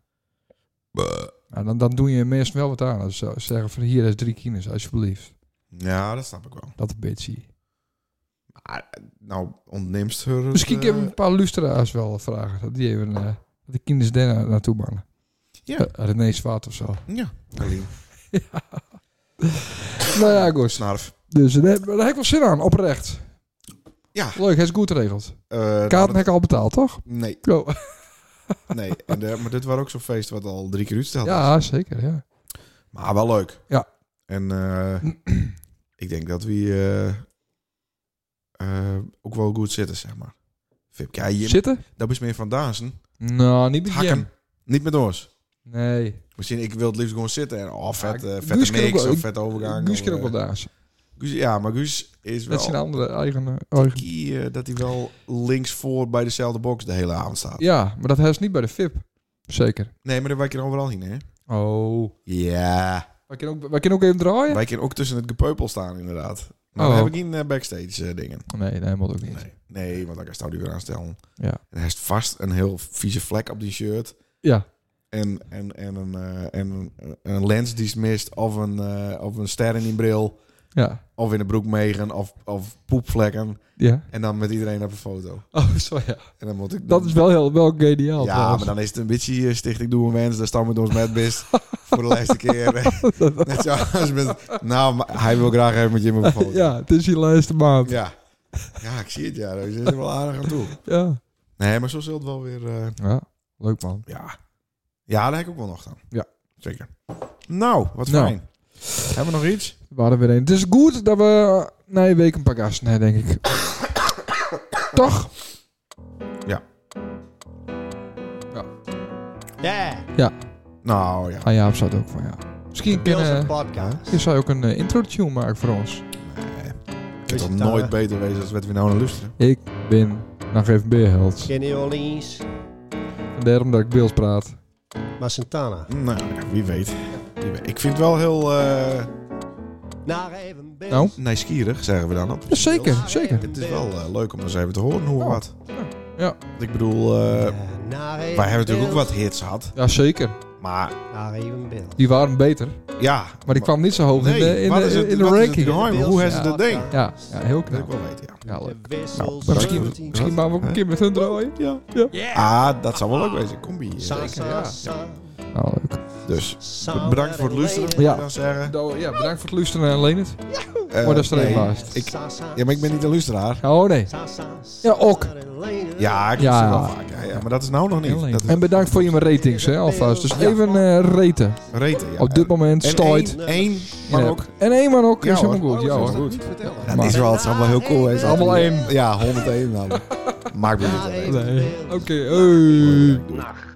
A: Nou, dan, dan doen je mensen wel wat aan. Als ze zeggen van hier is drie kines, alsjeblieft.
B: Ja, dat snap ik wel.
A: Dat een beetje.
B: Maar, eh, nou, ontneemst haar het,
A: Misschien kunnen we
B: eh,
A: een paar lustra's wel vragen. Dat die even eh, dat de kinders daar na- naartoe mannen.
B: Ja.
A: René Zwaard of zo.
B: Ja, Aline.
A: nou ja, Goos.
B: Snarf.
A: Dus eh, daar, heb- daar heb ik wel zin aan, oprecht.
B: Ja.
A: Leuk, hij is goed geregeld.
B: Eh, nou,
A: Kaarten
B: dat-
A: heb ik al betaald, toch?
B: Nee,
A: Yo.
B: nee. En, eh, maar dit was ook zo'n feest wat al drie keer uitstelde.
A: Ja, zeker. Ja.
B: Maar wel leuk.
A: Ja.
B: En eh, ik denk dat we eh, eh, ook wel goed zitten, zeg maar. Vipke, ja, je,
A: Zitten?
B: dat is meer van dansen.
A: Nou, niet met
B: Hakken.
A: Jim.
B: Niet met ons.
A: Nee,
B: Misschien, ik wil het liefst gewoon zitten. En, oh, vet,
A: Ja,
B: eh,
A: Guus
B: vette
A: kan ook
B: mix
A: wel-
B: of vette overgang.
A: Guus
B: of,
A: kan ook wel
B: eh,
A: dansen.
B: Guus- ja, maar Guus is
A: Dat zijn
B: wel...
A: andere eigen... eigen...
B: tikkie, eh, dat hij wel links voor bij dezelfde box de hele avond staat.
A: Ja, maar dat heeft niet bij de VIP. Zeker.
B: Nee, maar daar wij kunnen overal heen, hè?
A: Oh.
B: Ja.
A: Wij kunnen ook, wij kunnen ook even draaien?
B: Wij kunnen ook tussen het gepeupel staan, inderdaad. Maar
A: Oh.
B: we hebben geen eh, backstage eh, dingen.
A: Nee, nee, moet ook niet.
B: Nee. nee, want dan kan je weer aanstellen.
A: Ja.
B: En hij heeft vast een heel vieze vlek op die shirt.
A: Ja.
B: En, en, en, een, eh, en een, een lens die is mist. Of een, eh, of een ster in die bril.
A: Ja.
B: Of in de broek megen. Of, of poepvlekken.
A: Ja.
B: En dan met iedereen op een foto.
A: Oh, zo ja.
B: En dan moet ik...
A: Dat is wel heel wel geniaal.
B: Ja,
A: trouwens.
B: maar dan is het een beetje eh, Stichting Doe een Wens. Daar staan we met ons met best voor de laatste keer. Net zoals met... Nou, maar hij wil graag even met je in mijn foto.
A: Ja, het is je laatste maand. Ja.
B: Ja. Ja, ik zie het. Ja, daar is er wel aardig aan toe.
A: ja.
B: Nee, maar zo zult het wel weer... eh,
A: Leuk man.
B: Ja. Ja, daar heb ik ook wel nog aan.
A: Ja.
B: Zeker. Nou, wat
A: Nou.
B: fijn. Hebben we nog iets?
A: We waren weer een. Het is goed dat we na een week een paar gasten hebben, denk ik. Toch?
C: Yeah.
B: Nou ja.
A: Ah ja, of zou het ook van ja. Misschien
C: Bills
A: kunnen,
C: een podcast.
A: je zou ook een eh, intro tune maken voor ons.
B: Nee. Het
C: Weet
B: had
C: je het,
B: nooit
C: eh?
B: beter wezen als wat we nou naar luisteren.
A: Ik ben nog even beerheld.
C: Kenny Orleans,
A: En daarom dat ik Bills praat.
C: maar Santana.
B: Nou ja, wie weet. Wie weet. Ik vind het wel heel eh
C: Naar even Bills.
A: Nou?
B: nieuwsgierig, zeggen we dan. op.
A: Ja, zeker,
C: Bills.
A: zeker.
B: Het is wel eh, leuk om eens even te horen hoe we
A: Oh.
B: wat.
A: Ja.
B: Ik bedoel, eh,
C: Ja, naar even
B: wij hebben natuurlijk ook
C: Bills.
B: wat hits gehad.
A: Ja, zeker.
B: Maar
C: Naar even Bills.
A: Die waren beter.
B: ja.
A: Maar die kwam niet zo hoog
B: Nee,
A: in de, in
B: wat
A: de,
B: is het-
A: in de
B: wat is het
A: ranking.
B: geheim? Hoe hebben ze dat ding?
A: Ja, ja, heel
B: Dat wil ik
A: knap.
B: wel weten, ja.
A: Ja, leuk.
C: wissel
A: Nou, misschien-
C: 17.
A: Misschien maken we ook een keer met hun draaien. Ja. ja.
B: Ah, dat zal wel leuk wezen. Combi. eh.
C: Sa,
A: zeker,
C: sa,
A: ja.
C: sa,
A: Nou, leuk.
B: Dus
C: sa,
B: bedankt voor het luisteren.
C: lady.
B: wil
A: Ja.
B: ik dan zeggen.
A: Nou, ja, bedankt voor het luisteren, eh, Leonard.
B: Eh,
A: Oh, dat is er
B: nee.
A: even laatst.
B: Ik-
C: Sa, sa,
B: Ja, maar ik ben niet een luisteraar.
A: Oh nee.
C: sa, sa, sa,
A: Ja, ook.
C: lady.
B: Ja, ik
A: Ja.
B: ja. wel vaak. Ja, ja, maar dat is nou nog niet. Dat is
A: En bedankt voor je ratings, hè, alvast. Dus even eh, raten.
B: reten, ja.
A: Op dit moment
B: En
A: stooit.
B: één- eh, één, maar
A: Ja.
B: ook.
A: En één man ook,
B: Ja,
A: is helemaal
B: hoor.
A: goed. Ja
B: Oh,
A: hoor.
B: goed.
D: Niet vertellen.
A: Maar-
B: is wel, het is allemaal heel cool. Hè.
A: Allemaal één.
B: Ja, 101 dan. Maakt me niet uit.
A: Nee. Oké, hey.
E: Nacht.